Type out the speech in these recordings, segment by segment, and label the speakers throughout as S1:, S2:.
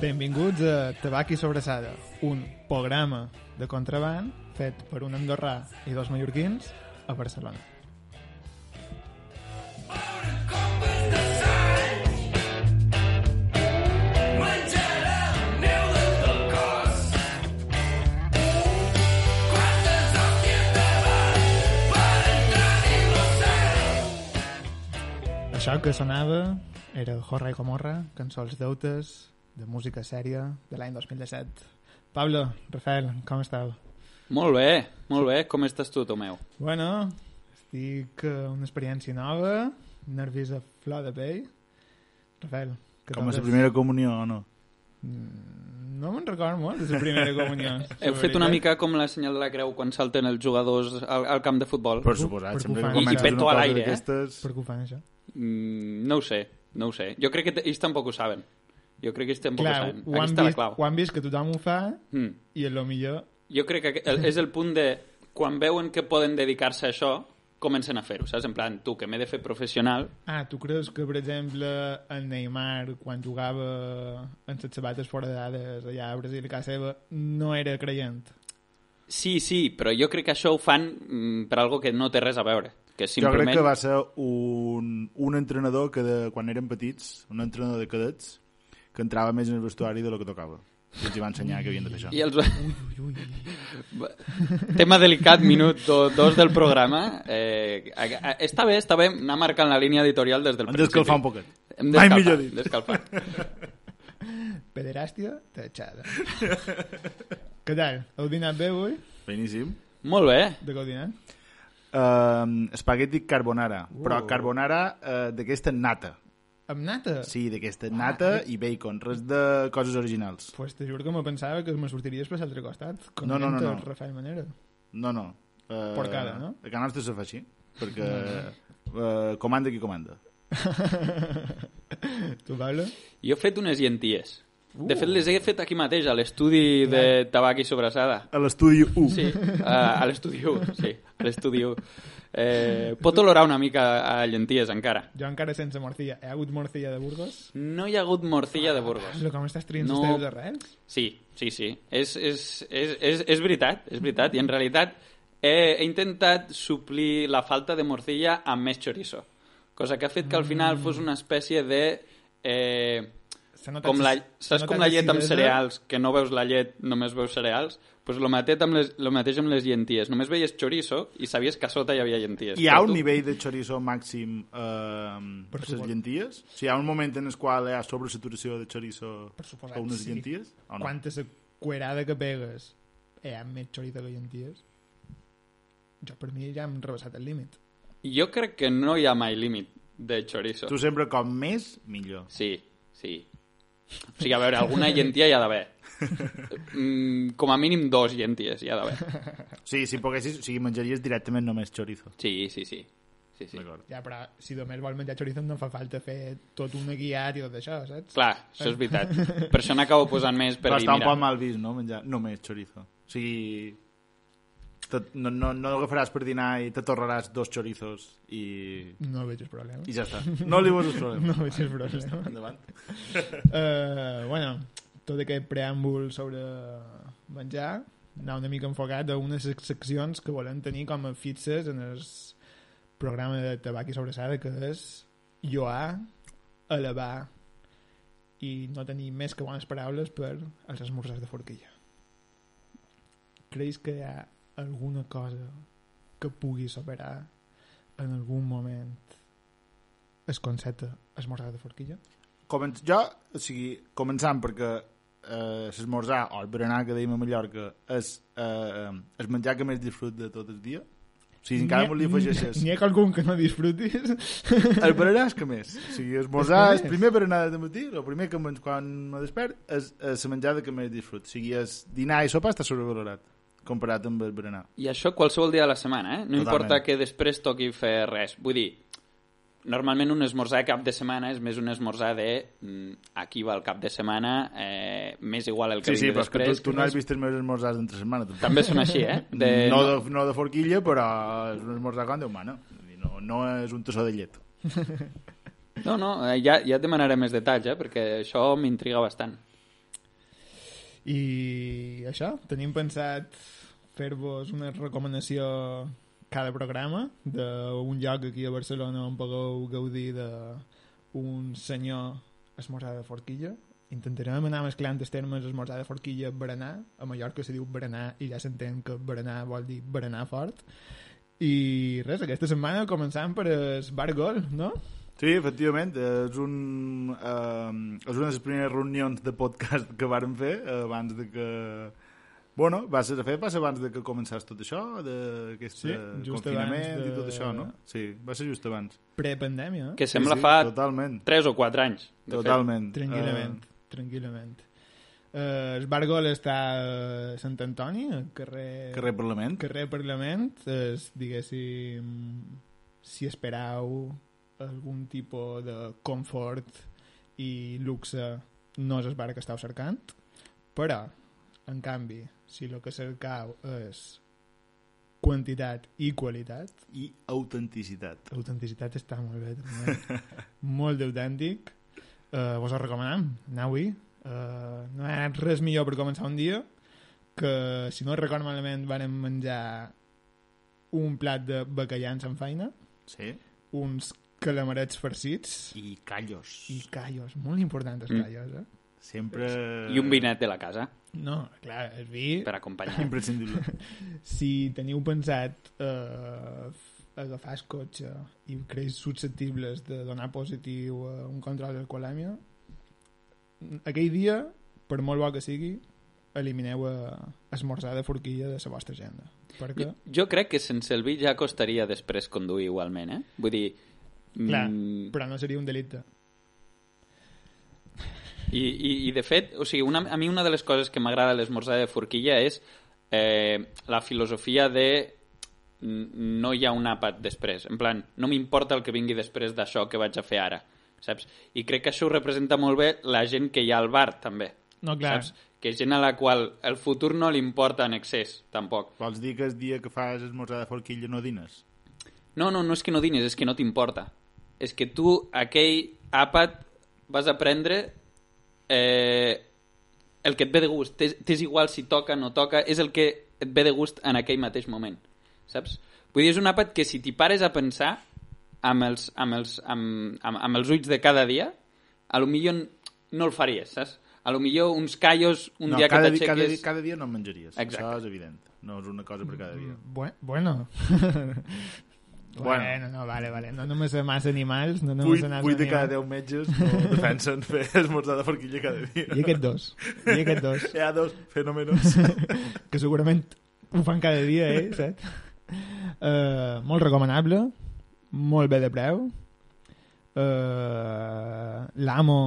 S1: Benvinguts a Tabac i Sobressada, un programa de contraband fet per un andorrà i dos mallorquins a Barcelona. Això que sonava era Jorra i Comorra, cançons deutes, de música sèria de l'any 2017. Pablo, Rafael, com esteu?
S2: Molt bé, molt bé. Com estàs tu, Tomeu?
S1: Bueno, estic eh, una experiència nova, nervis a flor de pell. Rafael, que
S3: Como la primera comunión o no?
S1: No me'n recordo molt de la primera comunió.
S2: Heu fet una mica com la senyal de la creu quan salten els jugadors al, al camp de futbol.
S3: Per suposat,
S1: per
S3: sempre
S1: bufar.
S3: que
S1: I- i
S3: comences
S2: peto
S3: una
S2: a
S3: cosa
S2: l'aire, eh?
S3: d'aquestes-
S1: Per què ho fan, això?
S2: Mm, no ho sé, no ho sé. Jo crec que t- ells tampoc ho saben. Jo crec que ells tampoc
S1: Clar,
S2: ho saben.
S1: ho
S2: Aquí
S1: han,
S2: està
S1: vist,
S2: la clau.
S1: ho han vist que tothom ho fa
S2: Mm.
S1: i el millor...
S2: Jo crec que aqu- el- és el punt de... Quan veuen que poden dedicar-se a això, comencen a fer-ho, saps? En plan, tu, que m'he de fer professional...
S1: Ah, tu creus que, per exemple, el Neymar, quan jugava amb les sabates foradades allà a Brasil, a casa seva, no era creient?
S2: Sí, sí, però jo crec que això ho fan mm, per algo que no té res a veure. Que
S3: Jo
S2: simplement...
S3: crec que va ser un, un entrenador que de, quan eren petits, un entrenador de cadets, que entrava més en el vestuari de lo que tocava. I els hi va ensenyar que havien de fer això.
S2: I els... Va- Tema delicat, minut do, dos del programa. Eh, a, a, està bé, està bé anar marcant la línia editorial des del
S3: Hem
S2: principi.
S3: d'escalfar un poquet.
S2: Hem
S3: Mai
S2: d'escalfar,
S3: millor dit.
S2: d'escalfar.
S1: Pederàstia tachada. Què tal? Heu dinat bé avui?
S3: Beníssim.
S2: Molt bé.
S1: De què heu dinat?
S3: Uh, espagueti carbonara, però carbonara uh, d'aquesta nata.
S1: Amb nata?
S3: Sí,
S1: Ah,
S3: d'aquesta nata
S1: eh?
S3: i bacon, res de coses originals.
S1: Pues te juro que me pensava que me sortiries per l'altre costat. Com
S3: No, no, no,
S1: entra
S3: no.
S1: el Rafael Manera.
S3: No, no. Uh,
S1: Porcada, no?
S3: A Can Nostra se fa així, perquè uh, comanda qui comanda.
S1: tu, Pablo?
S2: Jo he fet unes llenties. De fet, les he fet aquí mateix, a l'estudi de tabac i sobrassada.
S3: A l'estudi 1.
S2: Sí, a, a l'estudi 1, sí, a l'estudi 1. Eh, pot olorar una mica a llenties, encara.
S1: Jo encara sense morcilla. He hagut morcilla de Burgos?
S2: No hi ha hagut morcilla de Burgos.
S1: Pablo, com estàs triant
S2: No.
S1: no. els teus arrels?
S2: Sí, sí, sí. És, és, és, és, és veritat, és veritat. I en realitat he, he intentat suplir la falta de morcilla amb més chorizo. Cosa que ha fet que al final fos una espècie de... Eh,
S1: Se nota
S2: com la,
S1: que- se
S2: saps
S1: nota
S2: com la
S1: que
S2: llet amb
S1: acidesa-
S2: cereals, que no veus la llet, només veus cereals? Doncs pues lo, mateix amb les, lo mateix amb les llenties. Només veies chorizo i sabies que a sota hi havia llenties.
S3: Hi ha
S2: Però
S3: un
S2: tu-
S3: nivell de chorizo màxim eh, per les
S1: supost.
S3: llenties? O sigui, hi ha un moment en el qual hi ha sobresaturació de chorizo
S1: Per suposat,
S3: per unes
S1: sí.
S3: llenties? O no?
S1: Quanta sa cuerada que pegues? Hi ha més chorizo que llenties? Jo per mi ja hem rebassat el límit.
S2: Jo crec que no hi ha mai límit de chorizo.
S3: Tu sempre com més, millor.
S2: Sí, sí. O sigui, a veure, alguna llentia hi ha d'haver. Mm, com a mínim dos llenties hi ha d'haver.
S3: Sí, si poguessis, o sigui, menjaries directament només chorizo.
S2: Sí, sí, sí. sí, sí.
S3: D'acord.
S1: Ja, però si només vol menjar chorizo no fa falta fer tot un guiat i tot això, saps?
S2: Clar, això és veritat. Per això n'acabo posant més per
S3: Però
S2: dir,
S3: està un
S2: mira...
S3: poc mal vist, no?, menjar només chorizo. O sigui, tot, no, no, no agafaràs per dinar i te torraràs dos chorizos i,
S1: No veig el problema.
S3: i ja està. No li vols el problema.
S1: No veig el problema.
S3: Endavant.
S1: Uh, bueno, tot aquest preàmbul sobre menjar anar una mica enfocat a unes sec- seccions que volem tenir com a fixes en el programa de tabac i sobrassada que és lloar, elevar i no tenir més que bones paraules per als esmorzars de forquilla. Creus que hi ha alguna cosa que pugui superar en algun moment el concepte esmorzar de forquilla?
S3: Comen jo, o sigui, començant perquè eh, l'esmorzar o el berenar que dèiem a Mallorca és eh, el menjar que més disfrut de tot el dia. O sigui, encara m'ho li afegeixes.
S1: N'hi ha algun que no disfrutis?
S3: El berenar és que més. O sigui,
S1: És
S3: esmorzar
S1: que
S3: és
S1: més.
S3: primer berenar de matí, el primer que men- quan me despert és, és la menjada que més disfrut. O sigui, és dinar i sopar està sobrevalorat comparat amb el berenar.
S2: I això qualsevol dia de la setmana, eh? No
S3: Totalment.
S2: importa que després toqui fer res. Vull dir, normalment un esmorzar cap de setmana és més un esmorzar de mm, aquí va el cap de setmana, eh, més igual el que
S3: Sí, sí,
S2: vingui
S3: però és que
S2: després.
S3: tu, tu no has vist els meus esmorzars d'entre setmana. tampoc.
S2: També són així, eh?
S3: De... No, de, no de forquilla, però és un esmorzar quan Déu mana. Vull dir, No, no és un tassó de llet.
S2: No, no, eh, ja, ja et demanaré més detalls, eh? perquè això m'intriga bastant.
S1: I això, tenim pensat fer-vos una recomanació cada programa d'un lloc aquí a Barcelona on pugueu gaudir d'un senyor esmorzar de forquilla. Intentarem anar mesclant els termes esmorzar de forquilla, berenar. A Mallorca se diu berenar i ja s'entén que berenar vol dir berenar fort. I res, aquesta setmana començant per es Bar Gol, no?
S3: Sí, efectivament, eh, és, un, eh, és una de les primeres reunions de podcast que vàrem fer eh, abans de que... Bueno, va ser de fer, va ser abans de que començàs tot això, d'aquest
S1: Sí,
S3: sí,
S1: just
S3: confinament
S1: abans
S3: de...
S1: de-
S3: i tot això, no? Sí, va ser just abans.
S1: Prepandèmia, eh?
S2: Que sembla
S3: sí, sí,
S2: fa
S3: Totalment,
S2: 3 o 4 anys. de fet.
S3: totalment.
S1: Tranquil·lament, tranquil·lament. Eh, el Bar Gol està a Sant Antoni, al carrer...
S3: Eh, carrer Parlament.
S1: carrer Parlament, es, diguéssim, si esperau algun tipus de confort i luxe, no és el bar que esteu cercant, però, en canvi, si el que cercau és quantitat i qualitat,
S3: I autenticitat.
S1: l'autenticitat està molt bé, també. molt d'autèntic. Uh, vos ho recomanem, aneu-hi. Uh, no hi ha res millor per començar un dia que, si no recordo malament, vàrem menjar un plat de bacallans amb faina,
S3: Sí.
S1: uns calamarets farcits
S3: I callos.
S1: i callos, molt important els
S2: Mm.
S1: callos, eh?
S3: Sempre...
S2: I un vinet de la casa,
S1: No, clar, el vi,
S2: per acompanyar.
S3: Imprescindible.
S1: si teniu pensat eh, agafar el cotxe i creus susceptibles de donar positiu a un control d'alcoholèmia, aquell dia, per molt bo que sigui, elimineu eh, esmorzar de forquilla de la vostra agenda. Perquè...
S2: Jo, jo crec que sense el vi ja costaria després conduir igualment, eh? Vull dir...
S1: Clar,
S2: mm,
S1: però no seria un delicte.
S2: I, i, i de fet, o sigui, una, a mi una de les coses que m'agrada de l'esmorzar de forquilla és eh, la filosofia de n- no hi ha un àpat després. En plan, no m'importa el que vingui després d'això que vaig a fer ara, saps? I crec que això ho representa molt bé la gent que hi ha al bar, també.
S1: No, clar,
S2: Saps? Que és gent a la qual el futur no li importa en excés, tampoc.
S3: Vols dir que el dia que fas esmorzar de forquilla no dines?
S2: No, no, no és que no dinis, és que no t'importa. És que tu aquell àpat vas a prendre eh, el que et ve de gust. T'és t'és igual si toca o no toca, és el que et ve de gust en aquell mateix moment. Saps? Vull dir, és un àpat que si t'hi pares a pensar amb els, amb, els, amb, amb, amb els ulls de cada dia, a lo millor no el faries, saps? A lo millor uns callos un
S3: no,
S2: dia
S3: cada,
S2: que
S3: dia, cada, dia,
S2: t'aixequis...
S3: cada dia no en menjaries.
S2: Exacte.
S3: Això és evident. No és una cosa per cada dia.
S1: Bu- bueno. bueno. no, vale, vale. No només massa animals, no només
S3: Vuit,
S1: anar
S3: vuit de cada deu metges no defensen fer esmorzar de forquilla cada dia.
S1: I aquests dos. I aquests dos.
S3: Hi ha dos fenòmenos.
S1: que segurament ho fan cada dia, eh, saps? Uh, molt recomanable, molt bé de preu. Uh, L'amo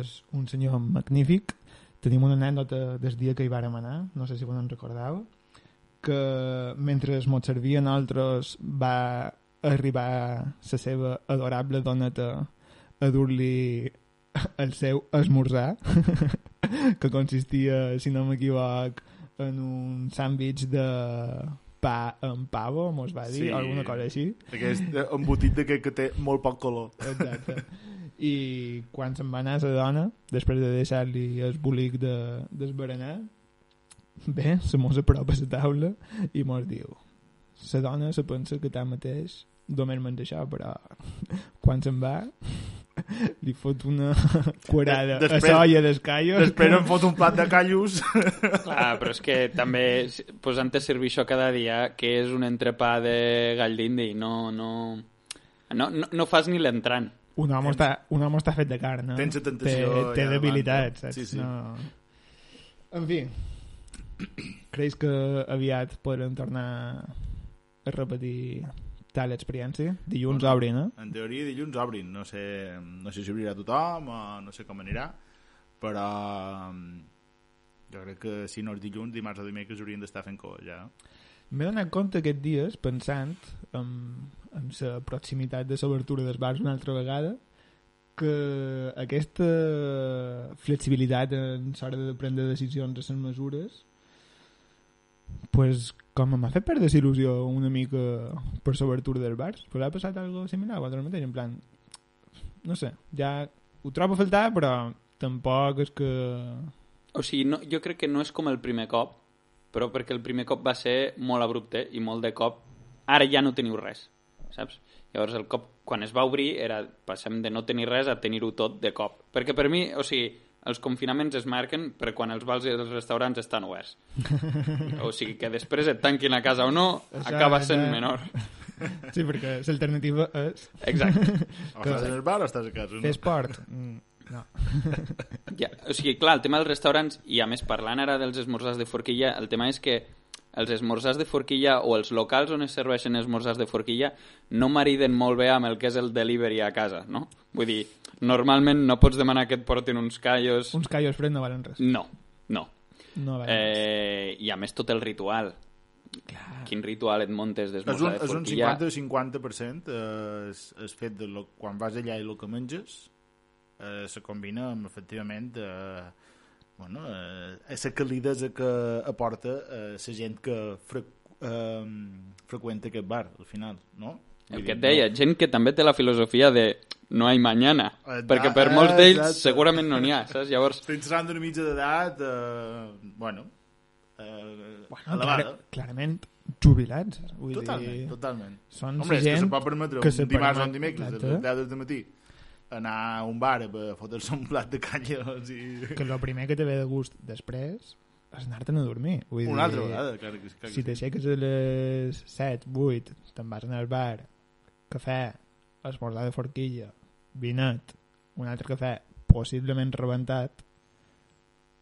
S1: és un senyor magnífic. Tenim una anècdota des dia que hi vàrem anar, no sé si vos en recordeu, que mentre mos servia a nosaltres va arribar la seva adorable doneta a dur-li el seu esmorzar, que consistia, si no m'equivoc, en un sàndwich de pa amb pavo, mos va dir,
S3: Sí.
S1: sí. alguna cosa així.
S3: Aquest eh, embotit d'aquest que té molt poc color.
S1: Exacte. I quan se'n va anar la dona, després de deixar-li el bolic de, desberenar, bé, se mos apropa a la taula i mos diu la dona se pensa que tant mateix només menja això, però quan se'n va li fot una quarada
S3: Des-
S1: a
S3: després-
S1: l'olla d'escallos.
S3: Després em fot un plat de callos.
S2: Clar, Ah, però és que també si- posant-te a servir això cada dia, que és un entrepà de gall d'indi, no, no, no, no, no fas ni l'entrant.
S1: Un home, està, un home està fet de carn, no?
S3: Tens la tentació
S1: Té, té
S3: allà davant,
S1: debilitats,
S3: no?
S1: saps?
S3: Sí, sí.
S1: No... En fi, creus que aviat podrem tornar a repetir tal experiència? Dilluns obrin, eh?
S3: En teoria, dilluns obrin. No sé, no sé si obrirà tothom o no sé com anirà, però mm, jo crec que si no és dilluns, dimarts o dimecres haurien d'estar fent cua, ja.
S1: M'he donat compte aquests dies, pensant en, en la proximitat de l'obertura dels bars una altra vegada, que aquesta flexibilitat en l'hora de prendre decisions a les mesures pues, com m'ha fet perdre la il·lusió una mica per l'obertura dels bars pues ha passat algo similar a vosaltres mateix en plan, no sé ja ho trobo a faltar però tampoc és que
S2: o sigui, no, jo crec que no és com el primer cop, però perquè el primer cop va ser molt abrupte i molt de cop, ara ja no teniu res, saps? Llavors el cop, quan es va obrir, era passem de no tenir res a tenir-ho tot de cop. Perquè per mi, o sigui, els confinaments es marquen per quan els bars i els restaurants estan oberts. O sigui, que després et tanquin a casa o no,
S1: Exacte.
S2: acaba sent menor.
S1: Sí, perquè l'alternativa és
S2: Exacte.
S3: O estàs en el bar o estàs a casa?
S1: fer
S3: No?
S1: esport. Mm, No.
S2: Ja, o sigui, clar, el tema dels restaurants, i a més parlant ara dels esmorzars de forquilla, el tema és que els esmorzars de forquilla o els locals on es serveixen esmorzars de forquilla no mariden molt bé amb el que és el delivery a casa, no? Vull dir, normalment no pots demanar que et portin uns callos...
S1: Uns callos freds no valen res.
S2: No, no.
S1: No valen res.
S2: Eh, I a més tot el ritual. Clar. Quin ritual et montes
S3: És un,
S2: d'esmorzar de
S3: és un
S2: forquilla?
S3: 50-50% eh, és, és fet de lo, quan vas allà i el que menges eh, se combina amb, efectivament, eh, bueno, eh, la calidesa que aporta eh, la gent que fre, eh, freqüenta aquest bar, al final, no?
S2: El que et deia, gent que també té la filosofia de no hi ha mañana,
S3: Exacte,
S2: perquè per molts d'ells
S3: exacte.
S2: segurament no n'hi ha, saps? Llavors,
S3: Estic entrant d'una mitja d'edat, eh, bueno, eh, bueno,
S1: Bueno,
S3: elevada.
S1: Ah, clar, clarament jubilats. Vull
S3: Totalment,
S1: dir,
S3: totalment.
S1: Són
S3: Home, és que
S1: gent
S3: se pot permetre
S1: que
S3: un
S1: se
S3: dimarts o
S1: permet-
S3: un dimecres, a
S1: Exacte.
S3: les 10 del matí, anar a un bar a fotre-se un plat de canyes i...
S1: que el primer que te ve de gust després és anar-te'n a dormir. Vull
S3: Una altra
S1: dir,
S3: vegada, clar que, sí, clar que
S1: Si
S3: sí.
S1: t'aixeques a les 7, 8, te'n vas anar al bar, cafè, esmorzar de forquilla, vinet, un altre cafè possiblement rebentat,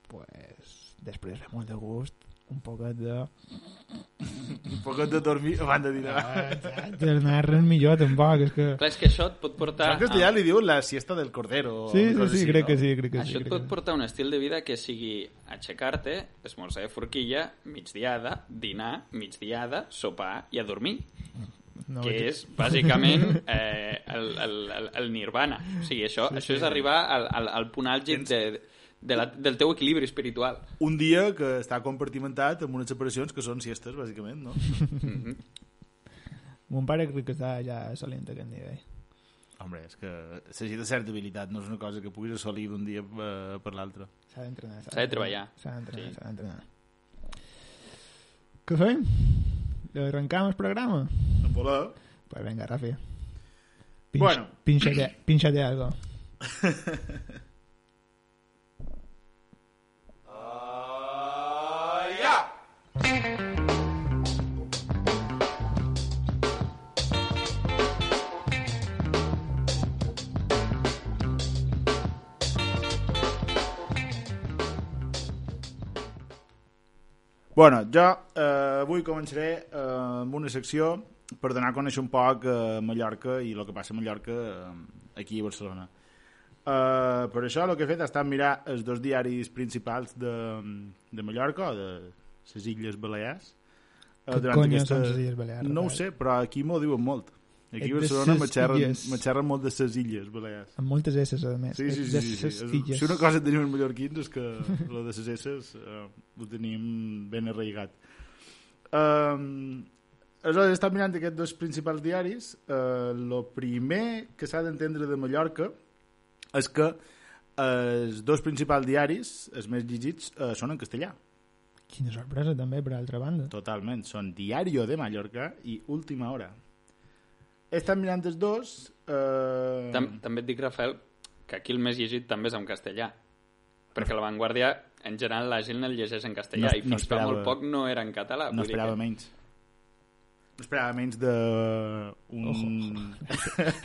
S1: pues, després ve molt de gust un poquet de...
S3: Un poquet de dormir abans de
S1: Ah,
S3: dinar.
S1: Anar res millor, tampoc, és que...
S2: Clar, és que això et pot portar...
S3: En castellà li diu la siesta del cordero.
S1: Sí,
S3: o
S1: sí,
S3: coses
S1: sí,
S3: així,
S1: crec
S3: no?
S1: que sí, crec que sí.
S2: Això et
S1: crec
S2: pot
S1: que sí.
S2: portar un estil de vida que sigui aixecar-te, esmorzar de forquilla, migdiada, dinar, migdiada, sopar i a dormir,
S1: No
S2: que
S1: vaig-
S2: és bàsicament eh, el, el, el, el nirvana. O sigui, això, sí, això és arribar al, al, al punt àlgid de, de la, del teu equilibri espiritual.
S3: Un dia que està compartimentat amb unes separacions que són siestes, bàsicament, no?
S2: Mhm.
S1: Mon pare crec que està ja solent aquest nivell.
S3: Home, és que s'agita de certa habilitat, no és una cosa que puguis assolir d'un dia eh, per l'altre.
S1: S'ha d'entrenar.
S2: S'ha de treballar.
S1: S'ha d'entrenar,
S2: Sí.
S1: s'ha d'entrenar. Què fem? Arrencam el programa?
S3: En voler,
S1: Pues vinga, Rafi.
S3: Bueno.
S1: Pinxate, pinxate algo.
S3: Bueno, jo eh, avui començaré eh, amb una secció per donar a conèixer un poc eh, Mallorca i el que passa a Mallorca eh, aquí a Barcelona. Eh, per això el que he fet ha estat mirar els dos diaris principals de, de Mallorca o de les Illes Balears. eh,
S1: Que
S3: durant
S1: conya són les Illes Balears,
S3: No ho
S1: Rafael?
S3: sé, però aquí m'ho diuen molt. Aquí
S1: Et
S3: a
S1: de
S3: Barcelona
S1: ses
S3: me xerren,
S1: illes.
S3: me xerren molt de les Illes Balears.
S1: Amb moltes S, a més.
S3: Sí, sí,
S1: És
S3: sí.
S1: de
S3: sí, sí.
S1: ses
S3: És-
S1: illes.
S3: Si una cosa tenim els mallorquins és que la de ses esses eh, ho tenim ben arraigat. Um, aleshores, he estat mirant aquests dos principals diaris. El primer que s'ha d'entendre de Mallorca és que eh, els dos principals diaris, els més llegits, eh, són en castellà.
S1: Quina sorpresa, també, per altra banda.
S3: Totalment, són Diario de Mallorca i Última Hora. He estat mirant els dos... Eh...
S2: Tam també et dic, Rafael, que aquí el més llegit també és en castellà. Perquè la Vanguardia, en general, la gent el llegeix en castellà
S3: No-
S2: i
S3: no
S2: fins fa
S3: esperava-
S2: molt poc no era en català.
S3: No
S2: vull dir que-
S3: esperava menys. No esperava menys de un,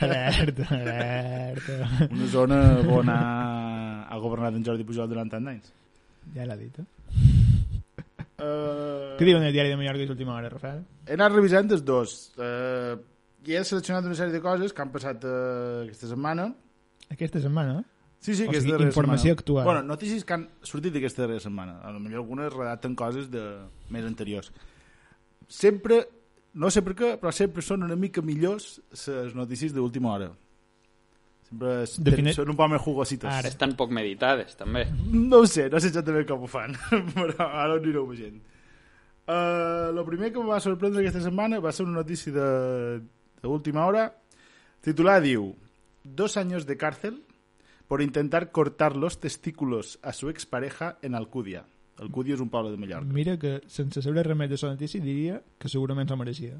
S1: Alerta, alerta.
S3: una zona on ha, ha governat en Jordi Pujol durant tant anys.
S1: Ja l'ha dit, eh?
S3: Uh,
S1: Què diuen el diari de Mallorca és l'última hora, Rafael?
S3: He anat revisant els dos. Uh, I he seleccionat una sèrie de coses que han passat uh, aquesta setmana.
S1: Aquesta setmana,
S3: Sí, sí,
S1: O
S3: aquesta
S1: sigui,
S3: darrera
S1: informació
S3: setmana.
S1: actual.
S3: Bueno, notícies que han sortit aquesta darrera setmana. A lo millor algunes redacten coses de més anteriors. Sempre, no sé per què, però sempre són una mica millors les notícies d'última hora. Sempre es,
S1: Define-
S3: tenen- són un poc més jugosites.
S1: Ara.
S2: Estan poc meditades, també.
S3: No ho sé, no sé exactament com ho fan, però ara ho anireu veient. Uh, el primer que em va sorprendre aquesta setmana va ser una notícia de- d'última hora. Titular diu Dos años de cárcel por intentar cortar los testículos a su expareja en Alcudia. Alcudia és un poble de Mallorca.
S1: Mira que sense saber res més de la notícia diria que segurament s'ho mereixia.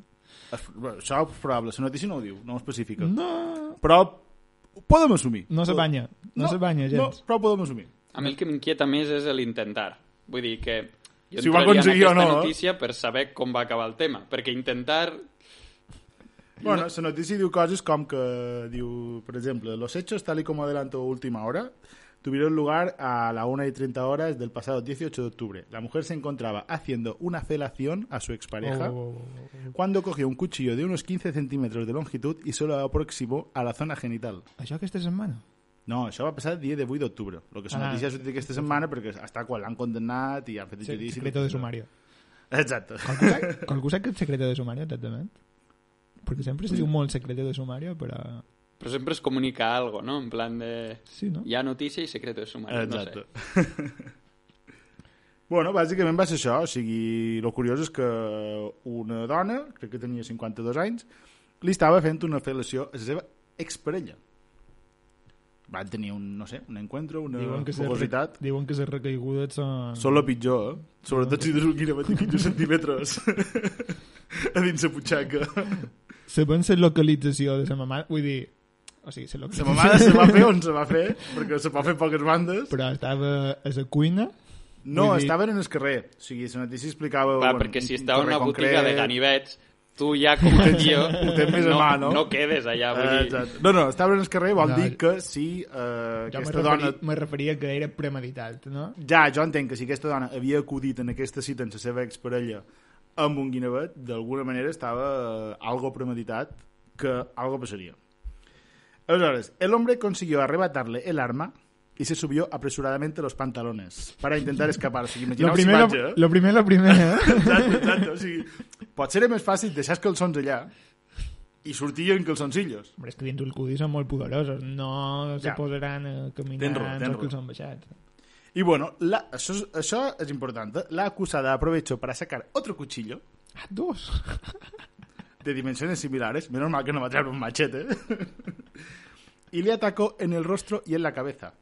S3: Es- Això és probable, la notícia no ho diu, no ho especifica.
S1: No,
S3: Però ho podem assumir.
S1: no se banya, no, se banya gens.
S3: No, però ho podem assumir.
S2: A mi el que m'inquieta més és l'intentar. Vull dir que jo
S3: Si ho va
S2: entraria
S3: aconseguir
S2: en
S3: o
S2: aquesta
S3: no, eh?
S2: notícia per saber com va acabar el tema. Perquè intentar...
S3: Bueno, la noticia diu cosas como que, diu, por ejemplo, los hechos, tal y como adelantó Última Hora, tuvieron lugar a la 1 y 30 horas del pasado 18 de octubre. La mujer se encontraba haciendo una felación a su expareja
S1: Oh, oh, oh, oh.
S3: cuando cogió un cuchillo de unos 15 centímetros de longitud y se lo aproximó a la zona genital.
S1: Això aquesta setmana?
S3: No, això va passar el dia 18 d'octubre. El que són
S1: Ah.
S3: ah, notícies sortit aquesta setmana perquè hasta quan l'han condemnat i han fet el
S1: Se-
S3: judici...
S1: Secreto de sumari.
S3: Exacte.
S1: Algú sap, algú sap què és secreto de sumari, exactament? Perquè sempre se diu molt secreto de sumari, però...
S2: Però sempre es comunica algo, no? En plan de...
S1: Sí, no?
S2: Hi ha notícia i secreto de sumari.
S3: Exacte. bueno, bàsicament va ser això, o sigui, el curiós és que una dona, crec que tenia 52 anys, li estava fent una fel·lació a la seva exparella. Van tenir un, no sé, un encuentro, una
S1: Diuen que,
S3: fogositat.
S1: re, diuen que les recaigudes són...
S3: Són la pitjor, eh? Sobretot si tens un quilòmetre i 15 centímetres a dins la butxaca.
S1: Sabent la localització de la mamà, vull dir... O sigui, la
S3: La
S1: localització...
S3: mamada se va fer on se va fer, perquè se va fer poques bandes.
S1: Però estava a la cuina,
S3: No,
S1: Vull dir-
S3: estaven en el carrer. O sigui, la notícia explicava...
S2: Clar, perquè si
S3: un
S2: estava en
S3: carrer
S2: una botiga de
S3: concret.
S2: ganivets, tu ja com a tio
S3: tens més a
S2: no,
S3: mà, no?
S2: no quedes allà. Ah, Vull
S3: Eh,
S2: dir,
S3: exacte. No, no, estaven en el carrer vol
S1: No,
S3: dir
S1: jo-
S3: que si eh,
S1: jo me
S3: aquesta dona...
S1: referia, me referia que era premeditat, no?
S3: Ja, jo entenc que si aquesta dona havia acudit en aquesta cita amb la seva exparella amb un guinevet, d'alguna manera estava eh, algo premeditat que algo passaria. Aleshores, el hombre consiguió arrebatarle el arma y se subió apresuradamente los pantalones para intentar escapar. O sigui,
S1: Lo
S3: imaginaos
S1: primer,
S3: imatge, eh?
S1: lo, lo primer, lo primer, eh?
S3: Exacte, exacte. O sigui, potser era més fàcil deixar els calçons allà i sortir en calçoncillos.
S1: Hombre, és que dins del cudi són molt poderosos, no se
S3: Ja.
S1: posaran a caminar
S3: Tens raó, tens
S1: amb
S3: raó.
S1: els que són baixats.
S3: Y bueno, la, eso, es- eso es importante. La acusada aprovechó para sacar otro cuchillo
S1: Ah, dos!
S3: de dimensiones similares, menos mal que no va a traer un machete, y le atacó en el rostro y en la cabeza.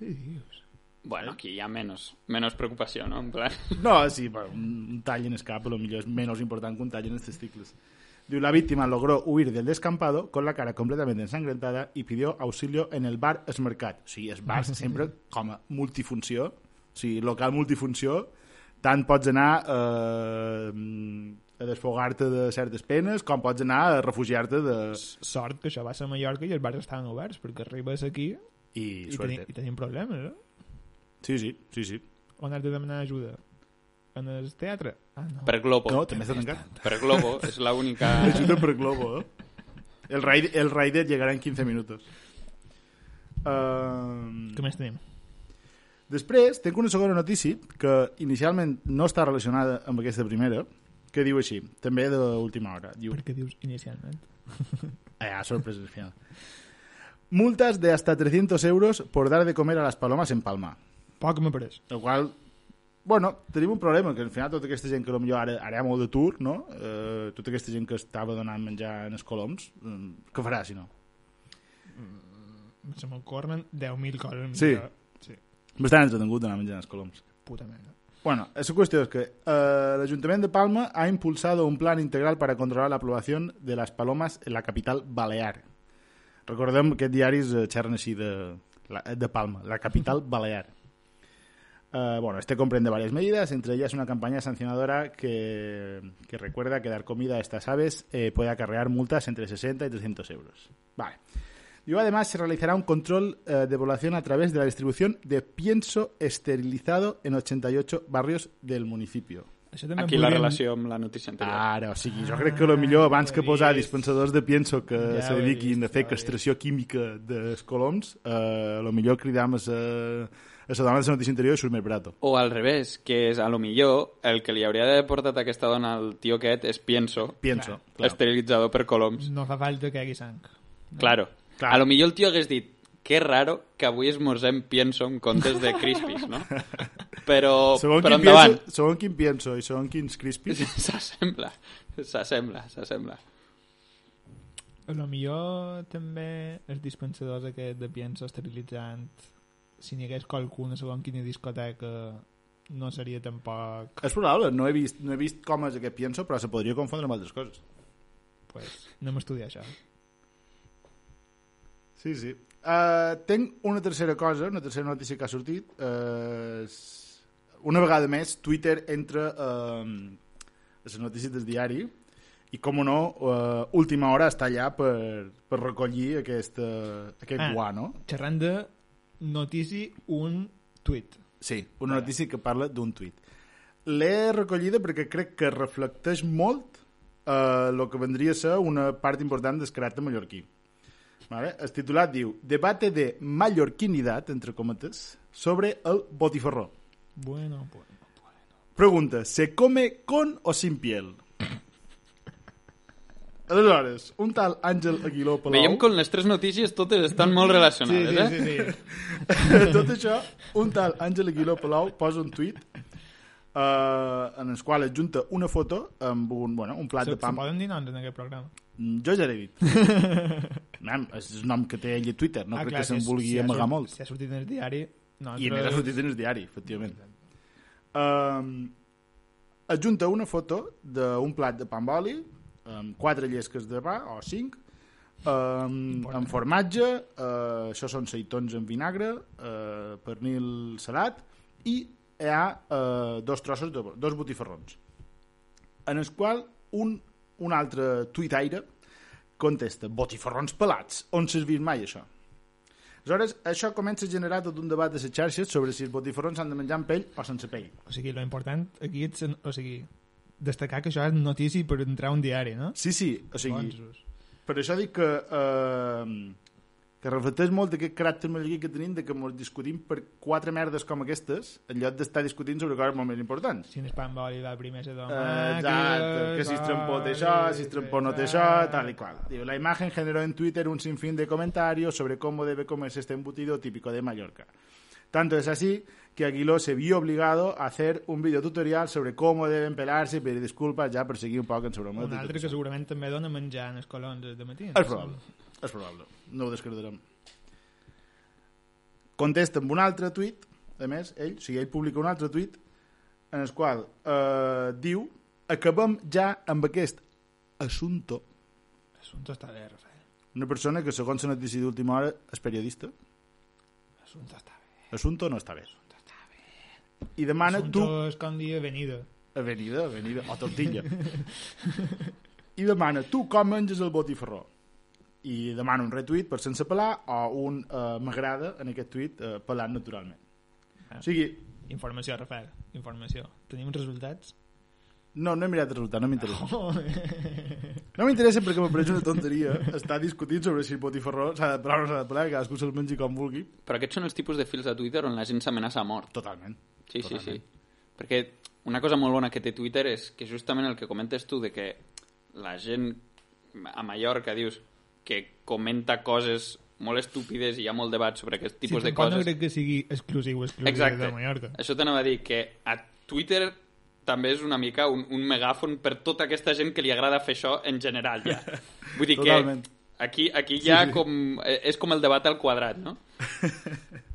S1: Què dius?
S2: Bueno, aquí hi ha menys, menys preocupació, no? En plan...
S3: No, sí, bueno, un, un tall en escape, lo mejor es menos importante que un tall en testículos. Diu, La víctima logró huir del descampado con la cara completamente ensangrentada y pidió auxilio en el bar Esmercat. O sigui, el bar sempre com a multifunció, o sigui, local multifunció, tant pots anar eh, a desfogar-te de certes penes com pots anar a refugiar-te de...
S1: Sort que això va ser a Mallorca i els bars estaven oberts, perquè arribes aquí i,
S3: I,
S1: teni, i
S3: suerte.
S1: tenim problemes, eh?
S3: Sí, sí, sí, sí.
S1: On has de demanar ajuda? En el teatre? Ah, no.
S2: Per Globo.
S3: No, també s'ha tancat.
S2: Per Globo és l'única...
S3: Ajuda per globo, eh? El raid, el Raider llegará en 15 minutos. Um,
S1: Què més tenim?
S3: Després, tenc una segona notícia que inicialment no està relacionada amb aquesta primera, que diu així, també d'última hora. Diu,
S1: Per què dius inicialment?
S3: ah, sorpresa al final. Multas de hasta 300 euros por dar de comer a las palomas en Palma.
S1: Poc me pareix.
S3: El qual, bueno, tenim un problema, que al final tota aquesta gent que potser ara, ara hi ha molt d'atur, no? Eh, tota aquesta gent que estava donant menjar en els coloms, mm, què farà, si no?
S1: Se m'ocorren 10.000 coses.
S3: Sí.
S1: però- sí.
S3: Bastant entretengut donar menjar en els coloms.
S1: Puta merda.
S3: Bueno, la cuestión es que eh, el Ayuntamiento de Palma ha impulsado un plan integral para controlar la población de las palomas en la capital balear. Recordem que diaris eh, xerren així de, la- de Palma, la capital balear. Eh, bueno, este comprende varias medidas, entre ellas una campaña sancionadora que, que recuerda que dar comida a estas aves eh, puede acarrear multas entre 60 y 300 euros. Vale. Y además se realizará un control eh, de población a través de la distribución de pienso esterilizado en 88 barrios del municipio.
S1: Això també
S2: Aquí
S1: en
S2: la
S1: podríem-
S2: relació amb la notícia anterior.
S3: Ara, o sigui, jo crec que lo millor abans
S1: Ah, ja
S3: que
S1: ho he
S3: posar
S1: vist.
S3: dispensadors de pienso que
S1: Ja
S3: se
S1: ho he
S3: dediquin
S1: vist,
S3: a fer
S1: ja ho he
S3: castració química dels coloms, eh, lo millor cridam eh, a sa, a sa dona de la notícia interior i surt més barato.
S2: O al revés, que és, a lo millor, el que li hauria d'haver portat aquesta dona al tio aquest és pienso,
S3: Pienso,
S2: claro.
S3: clar.
S2: esterilitzador per coloms.
S1: No fa falta que hi hagi sang.
S2: Claro.
S3: Claro.
S2: A lo millor el tio hagués dit que raro que avui esmorzem pienso en comptes de crispis, no?
S1: oh,
S2: Però,
S3: Segon,
S2: però
S3: quin pienso,
S2: endavant.
S3: segon quin pienso i segon quins crispis,
S2: S'assembla, s'assembla, s'assembla.
S1: A lo millor també els dispensadors aquests de pienso esterilitzant si n'hi hagués qualcuna segons quina discoteca no seria tampoc
S3: És probable, no he vist, no he vist com és aquest pienso, però se podria confondre amb altres coses.
S1: pues, no m'estudia això
S3: Sí, sí. Uh, tenc una tercera cosa, una tercera notícia que ha sortit. Uh, una vegada més, Twitter entra uh, a les notícies del diari i, com no, uh, última hora està allà per, per recollir aquest, uh, aquest
S1: Ah.
S3: ah. guano.
S1: xerrant de notici un tuit
S3: Sí, una notícia que parla d'un tuit. L'he recollida perquè crec que reflecteix molt el lo que vendria a ser una part important del caràcter mallorquí. Vale? El titulat diu Debate de mallorquinidad, entre cometes, sobre el botifarró.
S1: bueno, bueno, bueno.
S3: Pregunta, ¿se come con o sin piel? Aleshores, un tal Àngel Aguiló Palau...
S2: Veiem com les tres notícies totes estan molt
S1: sí,
S2: relacionades,
S1: sí, sí,
S2: eh?
S1: sí.
S3: tot això, un tal Àngel Aguiló Palau posa un tuit eh, en el qual adjunta una foto amb un, bueno, un plat
S1: Se,
S3: de
S1: se
S3: pam.
S1: poden dir noms en aquest programa
S3: Mm, Jo ja l'he dit. Mam, és el nom que té ell a Twitter,
S1: Ah,
S3: no crec que se'n
S1: si-
S3: vulgui
S1: si ha
S3: amagar
S1: sort-
S3: molt.
S1: si ha sortit en el diari no,
S3: I a més ha sortit en el diari, efectivament. Um, adjunta una foto d'un plat de pa amb oli, amb quatre llesques de pa, o cinc, um, amb formatge, uh, això són seitons amb vinagre, uh, pernil salat, i hi ha uh, dos trossos, de, dos botifarrons, en el qual un, un altre tuitaire contesta botifarrons pelats, on s'has vist mai això? Aleshores, això comença a generar tot un debat de les xarxes sobre si els botifarrons s'han de menjar amb pell o sense pell.
S1: o sigui, lo important aquí és o sigui, destacar que això és notici per entrar a un diari no?
S3: Sí, sí, o sigui,
S1: Bonsos.
S3: per això dic que, eh, que reflecteix molt aquest caràcter mallorquí que tenim de que ens discutim per quatre merdes com aquestes en lloc d'estar discutint sobre coses molt més importants.
S1: si n'és pa amb oli va primer se toma
S3: Exacte, que si es
S1: doncs,
S3: trompó
S1: ah,
S3: té això, si es trompó no té això, tal y cual. Digo, la imagen generó en Twitter un sinfín de comentarios sobre cómo debe comerse este embutido típico de Mallorca. Tanto es así que Aguiló se vio obligado a hacer un videotutorial sobre cómo deben pelarse y pedir disculpas ja per seguir un poc en sobre el
S1: Ah, un altre que segurament també dona menjar en els colons de matí
S3: És probable, és probable. No ho descartarem. Contesta amb un altre tuit, a més, ell, o sigui, ell publica un altre tuit en el qual eh, diu acabem ja amb aquest assumpto.
S1: Assunto està bé Rafael
S3: Una persona que, segons la notícia d'última hora, és periodista.
S1: Assunto està bé
S3: Assumpto no està bé. I demana
S1: Assunto
S3: tu...
S1: és com dir venido
S3: Avenida, avenida, o Oh, tortilla. I demana, tu com menges el botifarró? I demana un retuit per sense pelar o un eh, m'agrada en aquest tuit eh, pelant naturalment.
S1: Ah.
S3: O sigui,
S1: informació Rafael informació tenim uns resultats
S3: no, no he mirat el resultat, no m'interessa.
S1: oh,
S3: No m'interessa perquè me pareix una tonteria estar discutint sobre si el botifarró s'ha de pelar o no s'ha de pelar, que cadascú se'l mengi com vulgui.
S2: Però aquests són els tipus de fils de Twitter on la gent s'amenaça a mort.
S3: Totalment.
S2: Sí, sí, sí.
S3: Totalment.
S2: Perquè una cosa molt bona que té Twitter és que justament el que comentes tu de que la gent a Mallorca dius que comenta coses molt estúpides i hi ha molt debat sobre aquest
S1: si
S2: tipus de
S1: tampoc
S2: coses.
S1: no crec que sigui exclusiu exclusiu
S2: Exacte.
S1: de Mallorca
S2: Això t'anava a dir, que a Twitter també és una mica un, un megàfon per tota aquesta gent que li agrada fer això en general, ja. Vull dir
S3: Totalment.
S2: que aquí, aquí ja
S3: sí.
S2: com... eh, és com el debat al quadrat, no?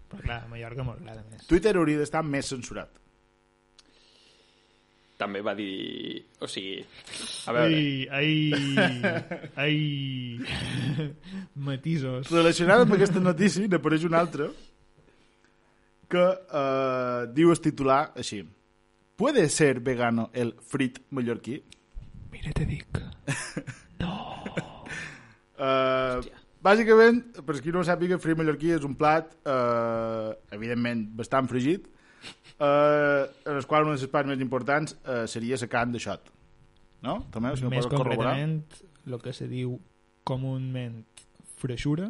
S1: però clar a Mallorca molt clar a més
S3: Twitter hauria d'estar més censurat.
S2: També va dir... O sigui... A veure...
S1: ai ai ai matisos
S3: Relacionada amb aquesta notícia n'apareix una altra que eh, diu el titular així ¿Puede ser vegano el frit mallorquí?
S1: mira te dic
S3: Eh, bàsicament, per qui no ho sàpiga, el frit mallorquí és un plat eh, evidentment bastant fregit eh, en el qual una de les parts més importants eh, seria la carn de xot. No? També, Ah, si no
S1: més
S3: pots corroborar.
S1: concretament el que se diu comúment freixura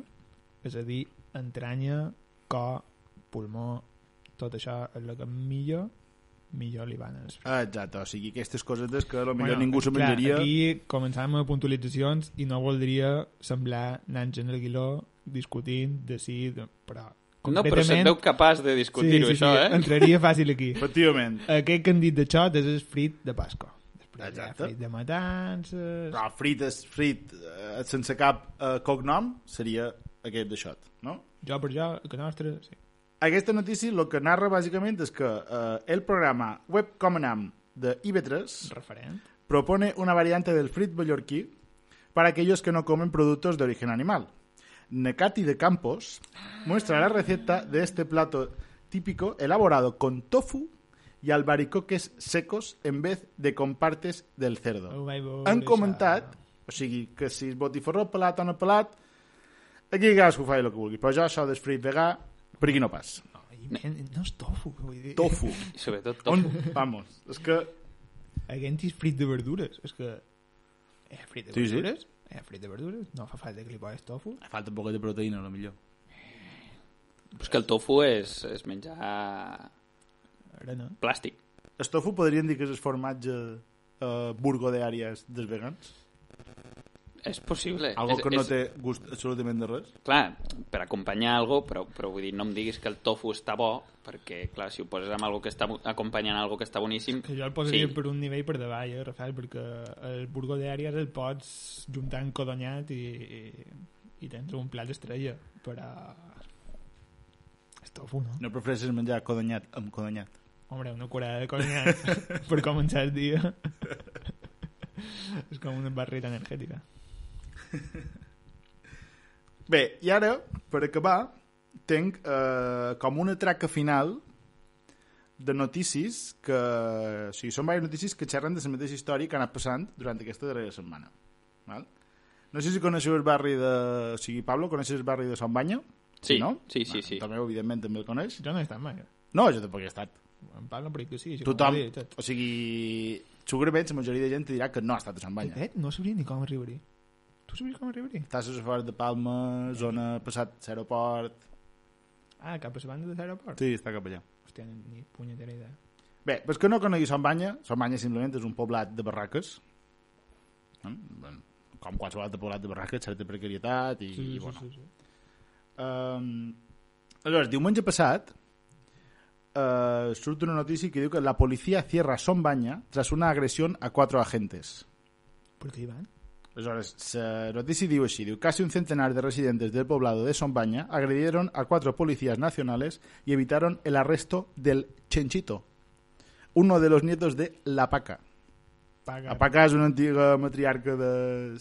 S1: és a dir, entranya cor, pulmó tot això és el que millor millor li van els
S3: Ah, Exacte, o sigui, aquestes cosetes que potser bueno, ningú se menjaria...
S1: clar, aquí començàvem amb puntualitzacions i no voldria semblar Nàngel Aguiló discutint de si, de, però
S2: No, però se't veu capaç de discutir-ho, això, eh?
S1: entraria fàcil aquí
S3: Efectivament.
S1: aquest que han dit de xot és el frit de Pasco
S3: Exacte.
S1: Frit de matances...
S3: Però frit, és frit eh, sense cap eh, cognom seria aquest de Xot, no?
S1: Jo per jo, que nostre... Sí.
S3: Aquesta notícia el que narra bàsicament és que eh, el programa Webcomenam de IB3
S1: Referent.
S3: propone una variante del frit mallorquí para aquellos que no comen productos de origen animal. Nekati de Campos muestra la receta de este plato típico elaborado con tofu y albaricoques secos en vez de con partes del
S1: Ho
S3: cerdo.
S1: vaig veure,
S3: Han
S1: això.
S3: comentat, o sigui, que si es botifarró pelat o no pelat, aquí cadascú fa el que vulgui, però jo això del frit vegà, per aquí no pas.
S1: No, i men, no és tofu, vull dir.
S3: Tofu.
S2: I sobretot
S3: On,
S2: tofu.
S3: vamos, és que
S1: Eh, Aquest és frit de verdures. És que... És frit de
S3: Sí, sí.
S1: verdures? És frit de verdures? No fa falta que li posis tofu?
S3: falta un poquet de proteïna, lo millor.
S2: És que el tofu és, és menjar
S1: Ara no.
S2: plàstic.
S3: El tofu podrien dir que és el formatge eh, burgo de àries dels vegans?
S2: És possible.
S3: Algo
S2: és,
S3: que no
S2: és,
S3: té gust absolutament de res?
S2: Clar, per acompanyar algo, però, però vull dir, no em diguis que el tofu està bo, perquè, clar, si ho poses amb algo que està bo- acompanyant algo que està boníssim...
S1: Que jo el posaria
S2: Sí.
S1: sí. per un nivell per davall, eh, Rafael, perquè el burgo d'àries el pots juntar en codonyat i, i, i tens un plat estrella, però... És tofu, no?
S3: No prefereixes menjar codonyat amb codonyat.
S1: Hombre, una curada de codonyat per començar el dia. és com una barrera energètica.
S3: Bé, i ara, per acabar, tinc eh, com una traca final de notícies que... O sigui, són diverses notícies que xerren de la mateixa història que ha anat passant durant aquesta darrera setmana. Val? No sé si coneixeu el barri de... O sigui, Pablo, coneixes el barri de Sant Banya?
S2: Sí,
S3: no?
S2: sí, sí, sí.
S3: També, evidentment, també el coneix.
S1: Jo no he estat mai. eh.
S3: No, jo tampoc hi he estat.
S1: Em parlen per que sí. així com
S3: Tothom,
S1: ho he dit, tot.
S3: o sigui, segurament la majoria de gent te dirà que no ha estat a Sant
S1: De
S3: Banya.
S1: fet, no sabria ni com arribar-hi. Tu sabries com arribar-hi?
S3: Estàs a fora de Palma, zona passat l'aeroport...
S1: Ah, cap a la banda de l'aeroport?
S3: Sí, està cap allà.
S1: Hòstia, ni punyetera idea.
S3: Bé, però és que no conegui Sant Banya, Sant Banya simplement és un poblat de barraques, Mm, bueno, com qualsevol altre poblat de barraques, certa precarietat i, i bueno.
S1: sí, sí.
S3: Um, aleshores, diumenge passat uh, surt una notícia que diu que la policia cierra Son Banya tras una agresión a cuatro agentes.
S1: Per què hi van?
S3: Aleshores, se noticia diu així, diu, casi un centenar de residentes del poblado de Sombaña agredieron a cuatro policías nacionales y evitaron el arresto del Chenchito, uno de los nietos de La Paca.
S1: Paga.
S3: La Paca és una antiga matriarca de-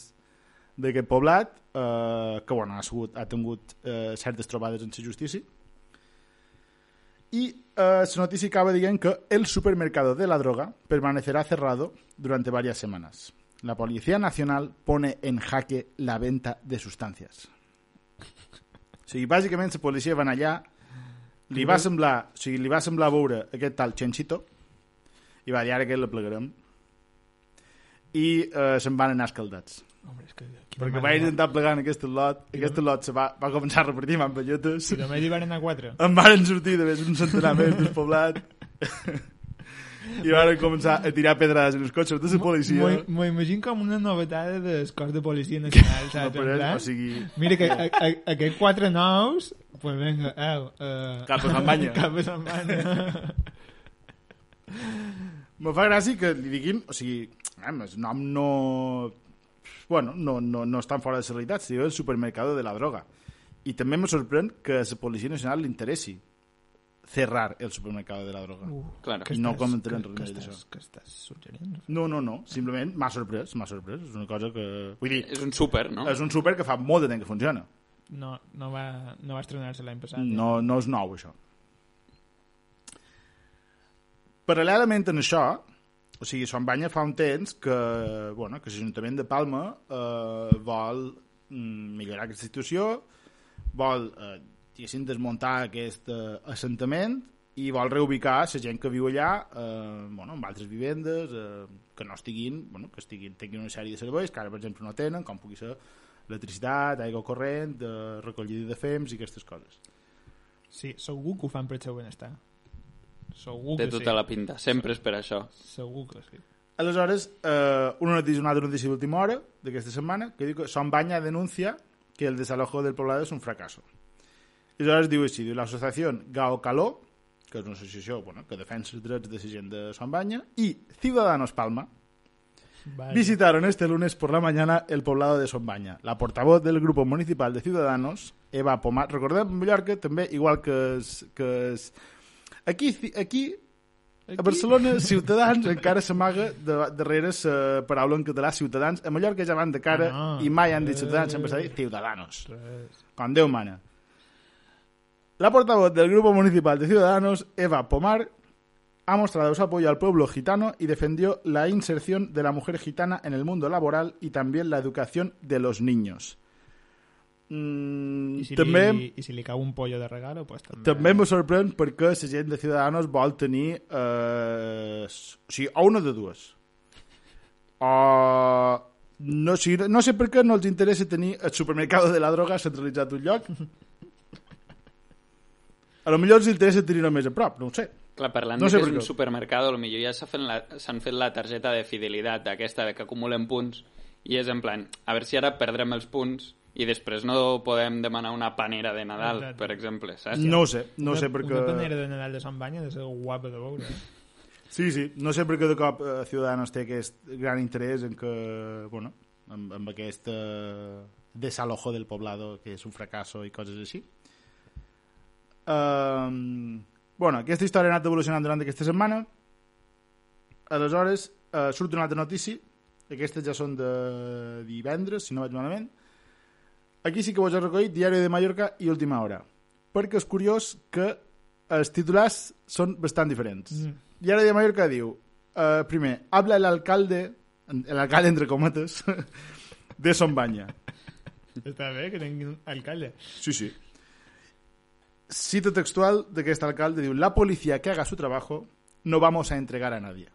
S3: d'aquest poblat, eh, que bueno, ha, sigut, ha tingut eh, certes trobades en la justícia. I eh, la notícia acaba dient que el supermercado de la droga permanecerá cerrado durante varias semanas. La Policía Nacional pone en jaque la venta de sustancias. O sigui, bàsicament la policia van allà, li va semblar, o sigui, li va semblar veure aquest tal Chenchito i va dir, ara aquest la plegarem. I eh, se'n van anar escaldats.
S1: Hombre, és que... quina
S3: Perquè
S1: mala
S3: va
S1: mort.
S3: intentar plegar en aquest lot, aquest lot se va, va començar a repartir mampallotes.
S1: Si només hi van anar quatre.
S3: En varen sortir de més un centenar més del poblat i varen començar a tirar pedrades en els cotxes de la policia.
S1: M'ho m'ho imagino com una novetada del cos de policia nacional,
S3: No,
S1: saps?
S3: però,
S1: en plan,
S3: o sigui,
S1: Mira que a, a, aquests quatre nous, pues venga, au, uh,
S3: Cap a Sant Banya.
S1: cap a Sant Banya.
S3: me fa gràcia que li diguin, o sigui, em, el nom no... Bueno, no, no, no estan fora de la realitat, si diu el supermercado de la droga. I també me sorprèn que a la Policia Nacional li interessi cerrar el supermercado de la droga.
S1: Uh,
S2: Claro.
S1: que
S3: No
S1: estàs-
S3: comentarem
S1: que-
S3: res
S1: que
S3: més
S1: estàs-
S3: d'això.
S1: Que estàs suggerint?
S3: No, no, no, simplement m'ha sorprès, m'ha sorprès, és una cosa que... Vull dir,
S2: És un súper, Eh, no?
S3: és un súper que fa molt de temps que funciona.
S1: No, no va, no va estrenar-se l'any passat. eh?
S3: No, no és nou, això. Paral·lelament en això, o sigui, Sant Banya fa un temps que, bueno, que l'Ajuntament de Palma eh, vol mm, millorar aquesta situació, vol, eh, diguéssim, desmuntar aquest eh, assentament i vol reubicar la gent que viu allà eh, bueno, amb altres vivendes eh, que no estiguin, bueno, que estiguin, tinguin una sèrie de serveis que ara, per exemple, no tenen, com pugui ser electricitat, aigua corrent, eh, recollida de fems i aquestes coses.
S1: Sí, segur que ho fan per el seu benestar. Segur
S2: Té
S1: que
S2: tota
S1: sí.
S2: la pinta. Sempre és per això.
S1: Segur que sí.
S3: Aleshores, eh, una notícia, una altra notícia d'última hora d'aquesta setmana, que diu que Son Baña denuncia que el desalojo del poblado es un fracaso. I aleshores diu així, diu l'associació Gao Caló, que és una associació bueno, que defensa els drets de la gent de Son Banya, i Ciudadanos Palma
S1: Vaya.
S3: Visitaron este lunes por la mañana el poblado de Sombaña. La portavoz del grupo municipal de Ciudadanos, Eva Pomat, recordem Mallorca també, igual que... Es, que es... Aquí, ci- aquí, a Barcelona, Ciutadans encara s'amaga de- darrere la paraula en català Ciutadans. A Mallorca ja van de cara
S1: Ah, no. Eh.
S3: i mai han dit Ciutadans, sempre s'ha dit Ciudadanos. Con Déu mana. La portavoz del Grupo Municipal de Ciudadanos, Eva Pomar, ha mostrado su apoyo al pueblo gitano y defendió la inserción de la mujer gitana en el mundo laboral y también la educación de los niños. Mm,
S1: I si,
S3: també,
S1: li, I si li cau un pollo de regalo, pues, també...
S3: també m'ho sorprèn perquè la gent de Ciudadanos vol tenir eh, s- o sigui, o una de dues o no, o sigui, no sé per què no els interessa tenir el supermercat de la droga centralitzat a un lloc a lo millor els interessa tenir-ho més a prop, no ho sé
S2: Clar, parlant
S3: No
S2: no sé
S3: sé
S2: que és
S3: per
S2: un
S3: què.
S2: supermercat, potser ja s'ha fet la- s'han fet la targeta de fidelitat d'aquesta, de que acumulen punts, i és en plan, a veure si ara perdrem els punts i després no podem demanar una panera de Nadal,
S1: Exacte.
S2: per exemple, saps?
S3: no ho sé, no ho sé
S1: Una-
S3: perquè
S1: Una panera de Nadal de Sant Banya de ser guapa de eh. veure.
S3: sí, sí, no sé perquè de cop eh, Ciudadanos té aquest gran interès en que, bueno, amb, amb aquest eh, desalojo del poblado que és un fracasso i coses així Um, bueno, aquesta història ha anat evolucionant durant aquesta setmana. Aleshores, eh, surt una altra notícia. Aquestes ja són de divendres, si no vaig malament. Aquí sí que vos he recollit Diari de Mallorca i Última Hora. Perquè és curiós que els titulars són bastant diferents. Mm. Diari de Mallorca diu, eh, primer, habla el alcalde, el alcalde entre cometes, de Sombanya.
S1: Està bé que tingui un alcalde.
S3: Sí, sí. Cita textual de que este alcalde diu la policía que haga su trabajo no vamos a entregar a nadie.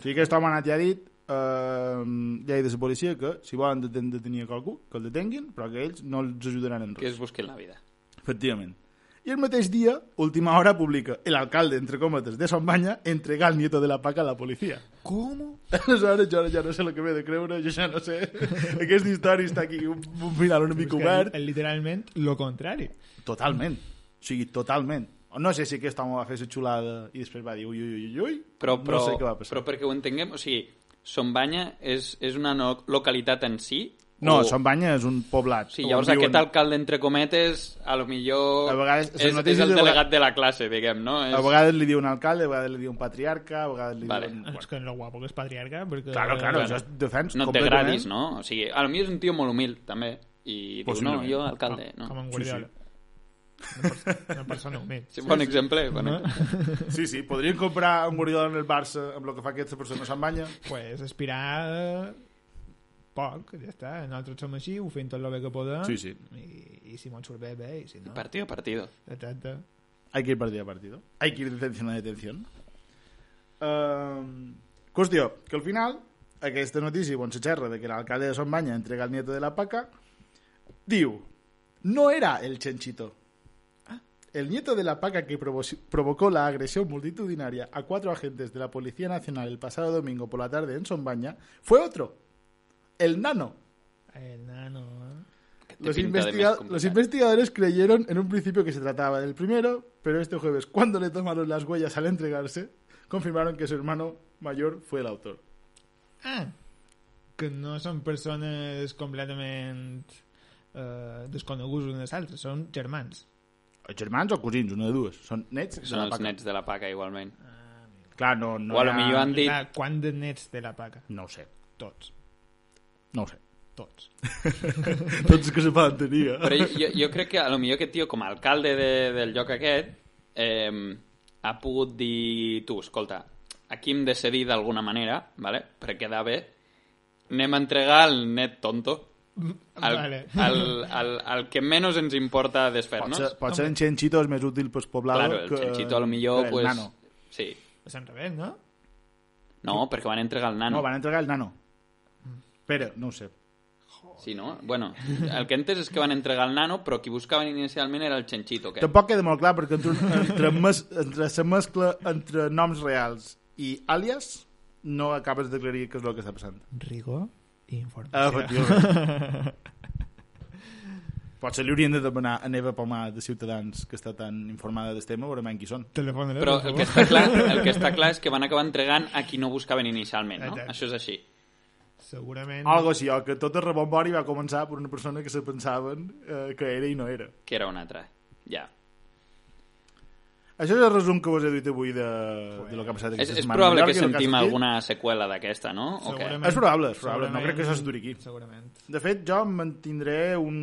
S3: Sí que estava anat ja dit eh, ja he dit a la policia que si volen deten detenir a qualcú, que el detenguin, però que ells no els ajudaran en
S2: Que
S3: res.
S2: es busquin la vida.
S3: Efectivament. I el mateix dia, última hora, publica el alcalde, entre còmetes, de Sombanya, entregar el nieto de la paca a la policia.
S1: Com?
S3: Aleshores, jo ara ja no sé el que m'he de creure, jo ja no sé. Aquesta història està aquí, un, un final una mica obert.
S1: Literalment, lo contrari.
S3: Totalment. O sigui, totalment. No sé si aquest home va fer la xulada i després va dir ui, ui, ui, ui,
S2: Però, però,
S3: no sé què va passar.
S2: però perquè ho entenguem, o sigui, Sombanya és, és una no localitat en si?
S3: No,
S2: o...
S3: Sombanya és un poblat.
S2: Sí, llavors
S3: on viuen-
S2: aquest alcalde, entre cometes, a lo millor
S3: A vegades, les
S2: és, és
S3: notícies
S2: el
S3: de vegades-
S2: delegat de la classe, diguem, no? És...
S3: A vegades li diu un alcalde, a vegades li diu un patriarca, a vegades li
S2: Vale.
S3: diu...
S1: És que en lo guapo que és patriarca, perquè...
S3: Claro, claro,
S2: Bueno,
S3: jo defenso
S2: no
S3: completament.
S2: t'agradis, no? O sigui, a lo millor és un tio molt humil, també. I diu, no,
S3: Possiblement.
S2: jo alcalde, no?
S1: Com en
S3: Sí,
S1: Guardiola. Una, persona, una persona humil.
S2: Sí, bon exemple, bon
S1: No?
S2: exemple.
S3: Sí, sí, podrien comprar un Guardiola en el Barça amb el que fa aquesta persona a Sombanya.
S1: Pues aspirar eh, poc, ja està. Nosaltres som així, ho fem tot el bé que podem.
S3: Sí, sí.
S1: I, i si mos surt bé, bé, i si no...
S2: Partido a partido.
S1: Exacte.
S3: Hay que ir partido a partido. Hay que ir detención a detención. Um, qüestió, que al final, aquesta notícia, on se xerra de que l'alcalde de Sombanya entrega el nieto de la paca, diu, no era el chanchito. El nieto de la paca que provo- provocó la agresión multitudinaria a cuatro agentes de la Policía Nacional el pasado domingo por la tarde en Sombaña fue otro, el nano.
S1: El nano... Eh?
S2: Que té
S3: Los,
S2: pinta de
S3: investiga-
S2: més
S3: los
S2: complicat.
S3: investigadores creyeron en un principio que se trataba del primero, pero este jueves, cuando le tomaron las huellas al entregarse, confirmaron que su hermano mayor fue el autor.
S1: Ah! Que no són persones completament eh, desconeguts unes altres, són germans.
S3: Els germans o cosins, una de dues. Són nets de
S2: Són
S3: la
S2: els
S3: paca.
S2: nets de la paca, igualment.
S3: Clar, no, no
S2: O a lo
S3: era-
S2: millor han dit...
S1: Clar, quant de nets té la paca?
S3: No ho sé,
S1: Tots.
S3: no ho sé.
S1: Tots.
S3: Tots els que se poden tenir, eh?
S2: Però jo, jo crec que a lo millor aquest tio, com a alcalde de, del lloc aquest, eh, ha pogut dir... Tu, escolta, aquí hem de cedir d'alguna manera, vale? per quedar bé, anem a entregar el net tonto, al,
S1: Vale.
S2: al, al, al que menos ens importa
S3: Pot
S2: desfer-nos.
S3: ser, pot ser en Chenchito és més útil pels pobladors
S2: Claro, el
S3: que...
S2: chanchito a lo
S3: que
S2: millor,
S3: el
S2: pues...
S3: Nano.
S2: Sí.
S1: És al revés, no?
S2: No, perquè van entregar el nano.
S3: No, van entregar el nano. Espera, no ho sé.
S2: Sí, no? Bueno, el que he entès és que van entregar el nano, però qui buscaven inicialment era el Chanchito, que...
S3: Tampoc queda molt clar perquè entre, entre, mes, entre la mescla entre noms reals i àlies no acabes d'aclarir què és el que està passant.
S1: Rigor i informació.
S3: Efectivament. Potser li haurien de demanar a Neva Palmar de Ciutadans, que està tan informada del tema, veurem qui són.
S1: Telefona,
S2: Però el que, està clar, el que està clar és que van acabar entregant a qui no buscaven inicialment, no?
S1: Exacte.
S2: Això és així.
S1: Segurament...
S3: Algo així, o que tot el rebombori va començar per una persona que se pensaven eh, que era i no era.
S2: Que era un altre. Ja.
S3: Això és el resum que vos he dit avui de, de lo que ha
S2: És,
S3: passat aquesta
S2: és
S3: setmana.
S2: probable
S3: Mallorca,
S2: que
S3: lo ha
S2: sentim
S3: sortit.
S2: alguna seqüela d'aquesta, no? O què?
S1: Segurament.
S3: És probable, és probable. No
S1: Segurament-
S3: crec que això es duri aquí.
S1: Segurament.
S3: De fet, jo mantindré un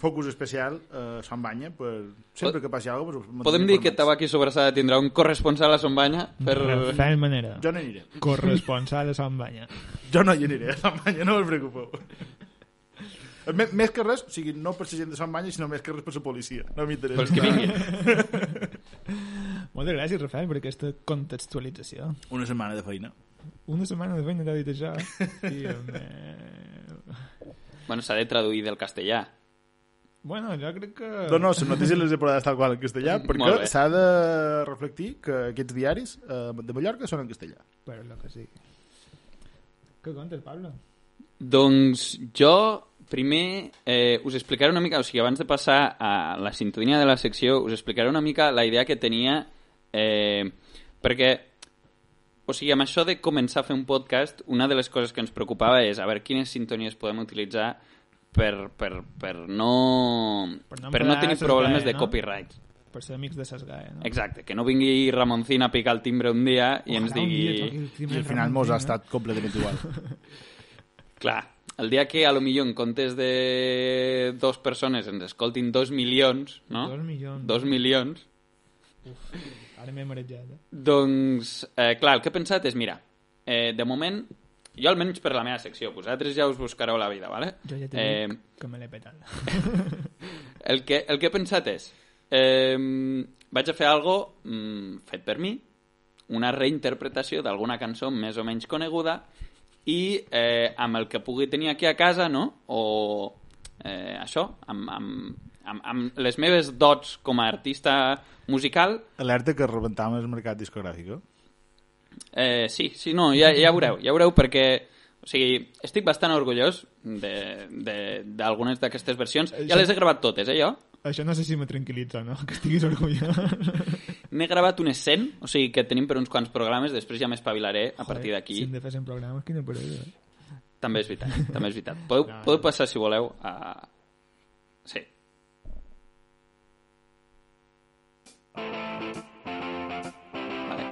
S3: focus especial eh, a Sant Banya per sempre que passi alguna cosa. us mantindré
S2: Podem dir que
S3: informats.
S2: Tabaqui Sobrassada tindrà un corresponsal a Sombanya per...
S1: De tal manera.
S3: Jo no hi aniré.
S1: Corresponsal a Sant Banya.
S3: Jo no hi aniré a Sant Banya, no us preocupeu. M més que res, o sigui, no per la gent de Sant Banya, sinó més que res per la policia. No m'interessa.
S2: Pels que vinguin.
S1: Moltes gràcies, Rafael, per aquesta contextualització.
S3: Una setmana de feina.
S1: Una setmana de feina t'ha dit això. eh, Tio, meu.
S2: Bueno, s'ha de traduir del castellà.
S1: bueno, jo crec que...
S3: Doncs No, no, les notícies les he portat tal qual en castellà,
S2: Molt
S3: perquè
S2: bé.
S3: s'ha de reflectir que aquests diaris eh, de Mallorca són en castellà.
S1: Però lo que sí. Què contes, Pablo?
S2: Doncs jo primer eh, us explicaré una mica, o sigui, abans de passar a la sintonia de la secció, us explicaré una mica la idea que tenia eh, perquè o sigui, amb això de començar a fer un podcast, una de les coses que ens preocupava és a veure quines sintonies podem utilitzar per, per, per no,
S1: Per no
S2: per no
S1: emprar
S2: tenir
S1: ses
S2: problemes
S1: gaes,
S2: de
S1: no?
S2: copyright.
S1: Per ser amics de Sasgae, no?
S2: Exacte, que no vingui Ramoncín a picar el timbre un dia i ens digui...
S3: I al final mos
S1: eh?
S3: ha estat completament igual.
S2: Clar, el dia que a lo millor en comptes de dos persones ens escoltin dos milions, no?
S1: Dos milions.
S2: Dos milions.
S1: Ara m'he marejat, eh?
S2: Doncs, eh, clar, el que he pensat és, mira, eh, de moment, jo almenys per la meva secció, vosaltres ja us buscareu la vida, ¿vale?
S1: Jo ja t'he
S2: eh,
S1: dit que me l'he petat.
S2: el, que, el que he pensat és, eh, vaig a fer algo mm, fet per mi, una reinterpretació d'alguna cançó més o menys coneguda i eh, amb el que pugui tenir aquí a casa, no? O eh, això, amb, amb, amb, amb les meves dots com a artista musical,
S3: Alerta que rebentàvem el mercat discogràfic. eh?
S2: Eh, sí, sí, no, ja, ja veureu, ja veureu perquè o sigui, estic bastant orgullós de- de- d'algunes d'aquestes versions. Ja les he gravat totes, eh, jo.
S1: Això no sé si me tranquil·litza, no? Que estiguis orgullós.
S2: N'he gravat unes 100, o sigui que tenim per uns quants programes, després ja m'espavilaré a partir
S1: Si
S2: d'aquí.
S1: hem de fer 100 programes, quina parella. eh?
S2: També és veritat, també és veritat. Podeu,
S1: No,
S2: podeu passar, si voleu, a... Sí. Vale.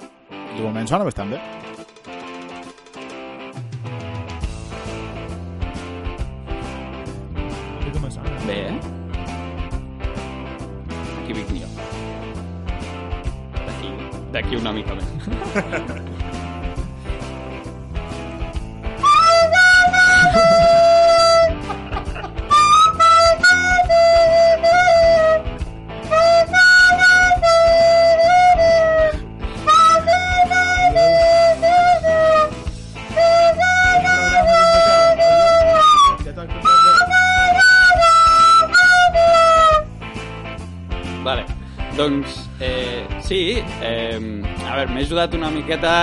S3: De moment sona bastant bé.
S1: Això que me sona.
S2: Bé, eh? Aquí vinc millor. D'aquí, d'aquí una mica més.
S1: Ja t'ho has comprat bé.
S2: Vale. Doncs, eh, sí, eh, a veure, m'he ajudat una miqueta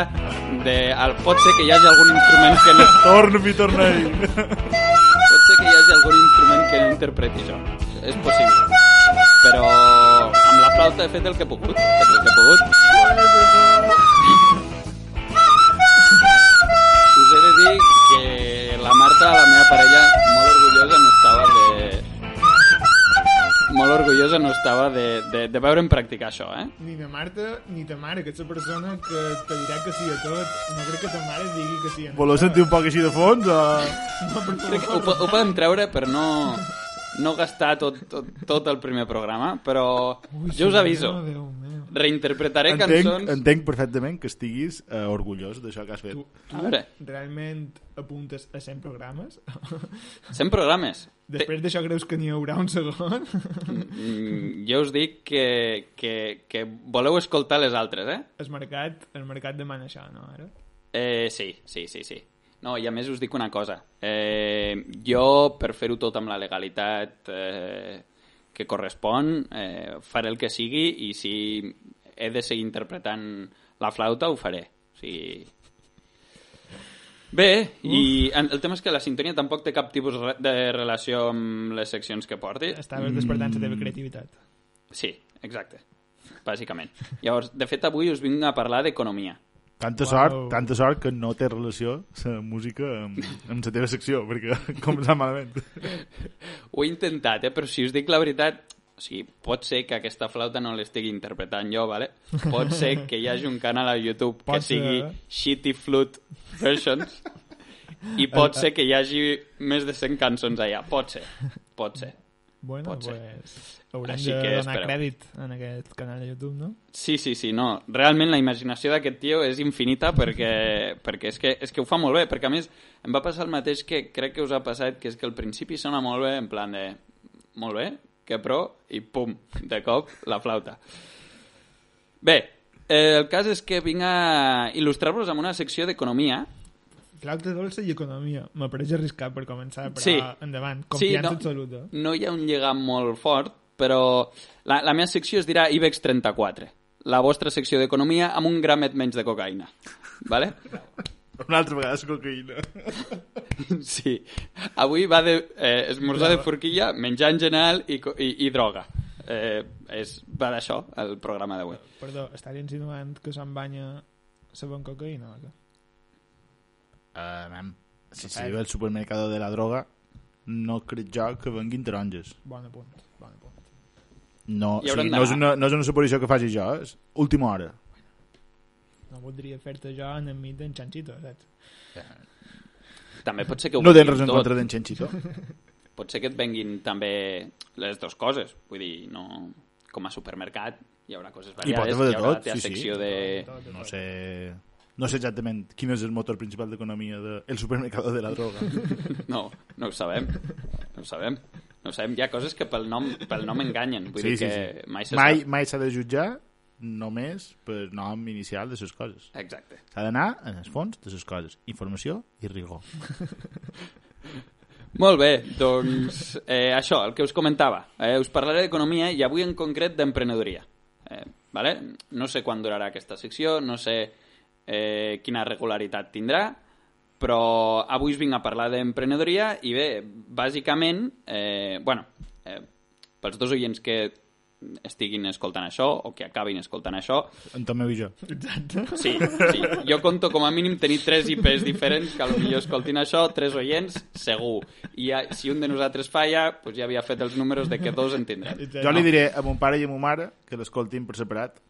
S2: de... El, pot ser que hi hagi algun instrument que no...
S3: Torna-hi, torna-hi.
S2: Pot ser que hi hagi algun instrument que no interpreti jo. És possible. Però amb la flauta he fet el que he pogut. He fet el que he pogut. Us he de dir que la Marta, la meva parella, molt orgullosa no estava de... Molt orgullosa no estava de, de, de veure'm practicar això, eh?
S1: Ni na Marta ni ta mare, que és la persona que te dirà que sí a tot. No crec que ta mare digui que sí a
S3: Voleu sentir un poc així de fons? eh? O...
S2: Crec que ho, po- ho podem treure per no, no gastar tot, tot, tot el primer programa, però jo us aviso,
S1: Déu meu.
S2: reinterpretaré
S3: Entenc,
S2: cançons...
S3: entenc perfectament que estiguis eh, orgullós d'això que has fet.
S2: A veure,
S1: Realment apuntes a 100 programes?
S2: 100 programes.
S1: Després d'això creus que n'hi haurà un segon?
S2: Mm, Jo us dic que, que, que voleu escoltar les altres, eh?
S1: El mercat, el mercat demana això, no? Ara?
S2: Eh, sí, sí, sí, sí. No, i a més us dic una cosa. Eh, jo, per fer-ho tot amb la legalitat eh, que correspon, eh, faré el que sigui i si he de seguir interpretant la flauta, ho faré. O sigui... Bé, i en- el tema és que la sintonia tampoc té cap tipus re- de relació amb les seccions que porti.
S1: Estaves
S3: Mm.
S1: despertant la teva creativitat.
S2: Sí, exacte. Bàsicament. Llavors, de fet, avui us vinc a parlar d'economia.
S3: Tanta
S1: Uau.
S3: sort, tanta sort que no té relació la música amb, amb la teva secció, perquè començar malament.
S2: Ho he intentat, eh? però si us dic la veritat, o sigui, pot ser que aquesta flauta no l'estigui interpretant jo, vale? pot ser que hi hagi un canal a YouTube
S1: Pot
S2: que
S1: ser,
S2: sigui
S1: eh?
S2: Shitty Flute Versions i pot ser que hi hagi més de 100 cançons allà, pot ser, pot ser.
S1: Bueno,
S2: Pot ser.
S1: pues, haurem
S2: Així
S1: de
S2: que
S1: donar
S2: espereu.
S1: crèdit en aquest canal de YouTube, no?
S2: Sí, sí, sí, no. Realment la imaginació d'aquest tio és infinita perquè, perquè és, que, és que ho fa molt bé, perquè a més em va passar el mateix que crec que us ha passat, que és que al principi sona molt bé, en plan de molt bé, que pro, i pum, de cop, la flauta. Bé, eh, el cas és que vinc a il·lustrar-vos amb una secció d'economia.
S1: Flauta dolça i economia. Me pareix arriscat per començar, però
S2: Sí.
S1: endavant. Confiança
S2: no,
S1: absoluta.
S2: No hi ha un lligam molt fort, però la, la meva secció es dirà IBEX 34, la vostra secció d'economia amb un gramet menys de cocaïna. Vale?
S3: Una altra vegada és cocaïna.
S2: Sí. Avui va de eh, esmorzar de forquilla, menjar en general i, co- i, i droga. Eh, és, va d'això, el programa d'avui.
S1: Perdó, estàs insinuant que se'n banya sabó amb cocaïna o què?
S3: Uh, nen, si se viu al supermercado de la droga, no crec jo que venguin taronges.
S1: Bon apunt, bon apunt.
S3: No, o
S2: Hi hauran
S3: sigui, no, és
S2: d'anar.
S3: una, no és una suposició que faci jo, és última hora.
S1: No voldria fer-te jo en enmig d'en Chanchito, saps?
S2: També pot ser que ho
S3: No tens
S2: venguin
S3: res en
S2: tot.
S3: contra d'en Xenxito.
S2: Pot ser que et venguin també les dues coses. Vull dir, no... com a supermercat hi haurà coses
S3: pot
S2: variades.
S3: haver de
S2: hi haurà
S3: tot,
S2: la teva
S3: sí, sí.
S2: secció de...
S1: Tot,
S3: No sé... No sé exactament quin és el motor principal d'economia del de... el supermercado de la droga.
S2: No, no ho sabem. No ho sabem. No ho sabem. Hi ha coses que pel nom, pel nom enganyen. Vull dir que mai se
S3: Mai
S2: sap.
S3: mai s'ha de jutjar només per nom inicial de les coses.
S2: Exacte.
S3: S'ha d'anar en els fons de les coses. Informació i rigor.
S2: Molt bé, doncs eh, això, el que us comentava. Eh, us parlaré d'economia i avui en concret d'emprenedoria. Eh, vale? No sé quan durarà aquesta secció, no sé eh, quina regularitat tindrà, però avui us vinc a parlar d'emprenedoria i bé, bàsicament, eh, bueno, eh, pels dos oients que estiguin escoltant això o que acabin escoltant això,
S3: En Tomeu i jo.
S1: Exacte.
S2: Sí, sí. Jo conto com a mínim tenir tres IPs diferents, que a lo millor escoltin això, tres oients, segur. I ja, si un de nosaltres falla, doncs ja havia fet els números de que dos en tindrem.
S1: Exacte.
S3: Jo li diré a mon pare i a ma mare que l'escoltin per separat.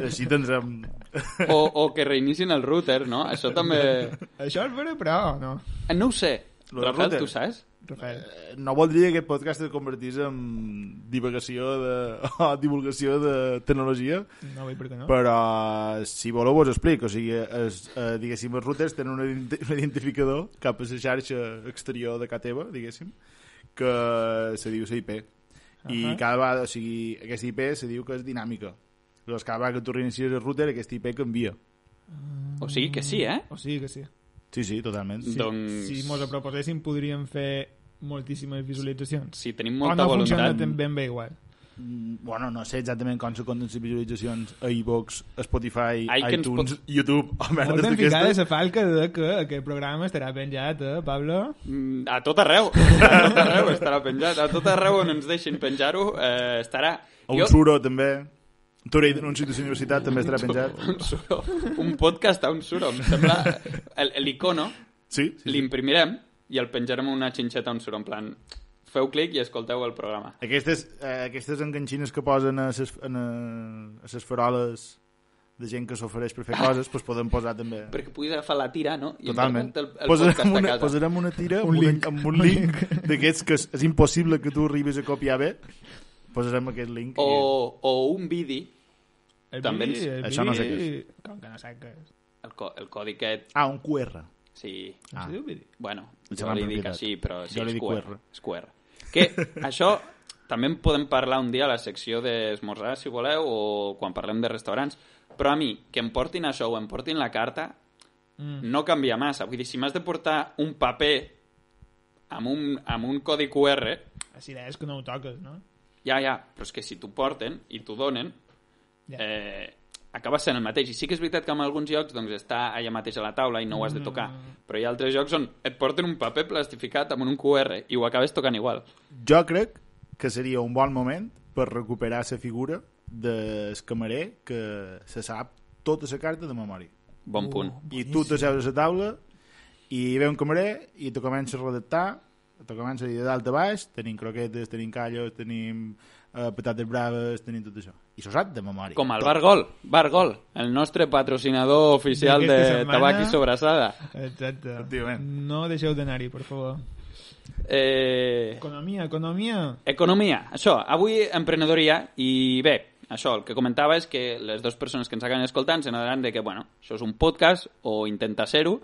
S3: Així doncs, tindrem...
S2: O, o que reinicin el router, no? Això també... Eh,
S1: Això és vera, però no.
S2: No ho sé.
S3: Lo del
S2: Rafael,
S3: router?
S2: tu saps?
S1: Rafael.
S2: Eh.
S3: eh, No voldria que aquest podcast es convertís en divagació de... o divulgació de tecnologia,
S1: No vull perquè no.
S3: però eh, si voleu vos explico. O sigui, es, eh, diguéssim, els routers tenen un, ident- un identificador cap a la xarxa exterior de casa teva, diguéssim, que se diu la IP. I
S1: Ahà.
S3: cada vegada, o sigui, aquesta IP se diu que és dinàmica. Llavors, cada vegada que tu reinicies el router, aquesta IP canvia.
S2: O sigui que sí, eh?
S1: O sigui que sí.
S3: Sí, sí, totalment.
S2: Sí. Doncs...
S1: Si mos ho proposéssim, podríem fer moltíssimes visualitzacions.
S2: Si tenim
S1: o
S2: molta
S1: no funciona
S2: voluntat...
S1: tan ben bé igual.
S3: Mm, Bueno, no sé exactament com se compten les visualitzacions a iVox, a Spotify,
S2: Ai, que ens
S3: iTunes, YouTube o
S1: Molt
S3: merdes
S1: ben ficada
S3: d'aquestes.
S1: la falca de que aquest programa estarà penjat, eh, Pablo?
S2: Mm, A tot arreu. A tot arreu estarà penjat. A tot arreu on ens deixin penjar-ho eh, estarà.
S3: A un suro, també. Un Torell d'anunci de la universitat també estarà penjat.
S2: un suro, un podcast a un suro, em sembla eh, el- l'icono,
S3: Sí, sí, sí.
S2: l'imprimirem i el penjarem a una xinxeta a un suro, en plan, feu clic i escolteu el programa.
S3: Aquestes, eh, aquestes enganxines que posen a ses, en, eh, a ses faroles de gent que s'ofereix per fer coses, doncs podem posar també.
S2: Perquè puguis agafar la tira, no? I
S3: Totalment.
S2: portar-te El, el podcast a
S3: Posarem una,
S2: casa.
S3: posarem una tira
S1: Un
S3: amb
S1: link.
S3: amb un link d'aquests que és, és impossible que tu arribis a copiar bé. Posarem aquest link. i-
S2: O, o un vídeo,
S1: El
S2: També
S1: Billy,
S2: ens-
S1: el
S3: això no sé què
S1: Billy- Com que no sé què és.
S2: el, co el codi aquest,
S3: Ah, un QR.
S2: sí,
S1: No
S3: Ah.
S1: sé, Billy.
S2: bueno,
S3: Em
S2: jo
S3: sembla
S2: li dic
S3: propietat.
S2: així, però sí,
S3: Jo li
S2: és
S3: dic
S2: QR.
S3: QR.
S2: És QR. Que això també en podem parlar un dia a la secció d'esmorzar, si voleu, o quan parlem de restaurants, però a mi, que em portin això o em portin la carta,
S1: Mm.
S2: no canvia massa. Vull dir, si m'has de portar un paper amb un, amb un codi QR,
S1: Així és que no ho toques, no?
S2: ja, ja, però és que si t'ho porten i t'ho donen,
S1: Ja.
S2: eh, acaba sent el mateix. I sí que és veritat que en alguns jocs doncs, està allà mateix a la taula i no ho has de tocar,
S1: Mm.
S2: però hi ha altres jocs on et porten un paper plastificat amb un QR i ho acabes tocant igual.
S3: Jo crec que seria un bon moment per recuperar la figura del camarer que se sap tota la carta de memòria.
S2: Bon
S1: Uh.
S2: punt.
S3: I tu t'asseus a la taula i ve un camarer i te comença a redactar, te comença a dir de dalt a baix, tenim croquetes, tenim callos, tenim eh, patates braves, tenim tot això. I s'ho sap de memòria.
S2: Com el Bargol, Bargol, el nostre patrocinador oficial de
S1: D'aquesta setmana.
S2: tabac i sobrassada.
S1: Exacte.
S3: Efectivament.
S1: No deixeu d'anar-hi, per favor.
S2: Eh...
S1: Economia, economia.
S2: Ah. Economia, això, avui emprenedoria i bé, això, el que comentava és que les dues persones que ens acaben escoltant se n'adonaran de que, bueno, això és un podcast o intenta ser-ho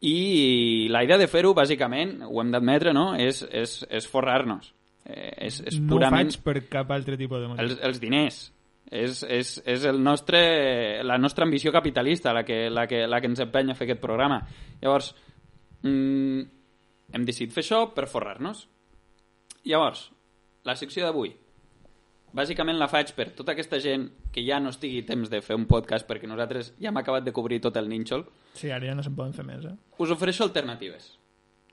S2: i la idea de fer-ho, bàsicament, ho hem d'admetre, no?, és, és, és forrar-nos. Eh, és, és
S1: No ho
S2: purament
S1: faig per cap altre tipus de motiu.
S2: els, els diners. És, és, és el nostre, la nostra ambició capitalista la que, la, que, la que ens empeny a fer aquest programa. Llavors, mm, hem decidit fer això per forrar-nos. Llavors, la secció d'avui, bàsicament la faig per tota aquesta gent que ja no estigui temps de fer un podcast perquè nosaltres ja hem acabat de cobrir tot el nínxol.
S1: Sí, ara ja no se'n poden fer més, eh?
S2: Us ofereixo alternatives,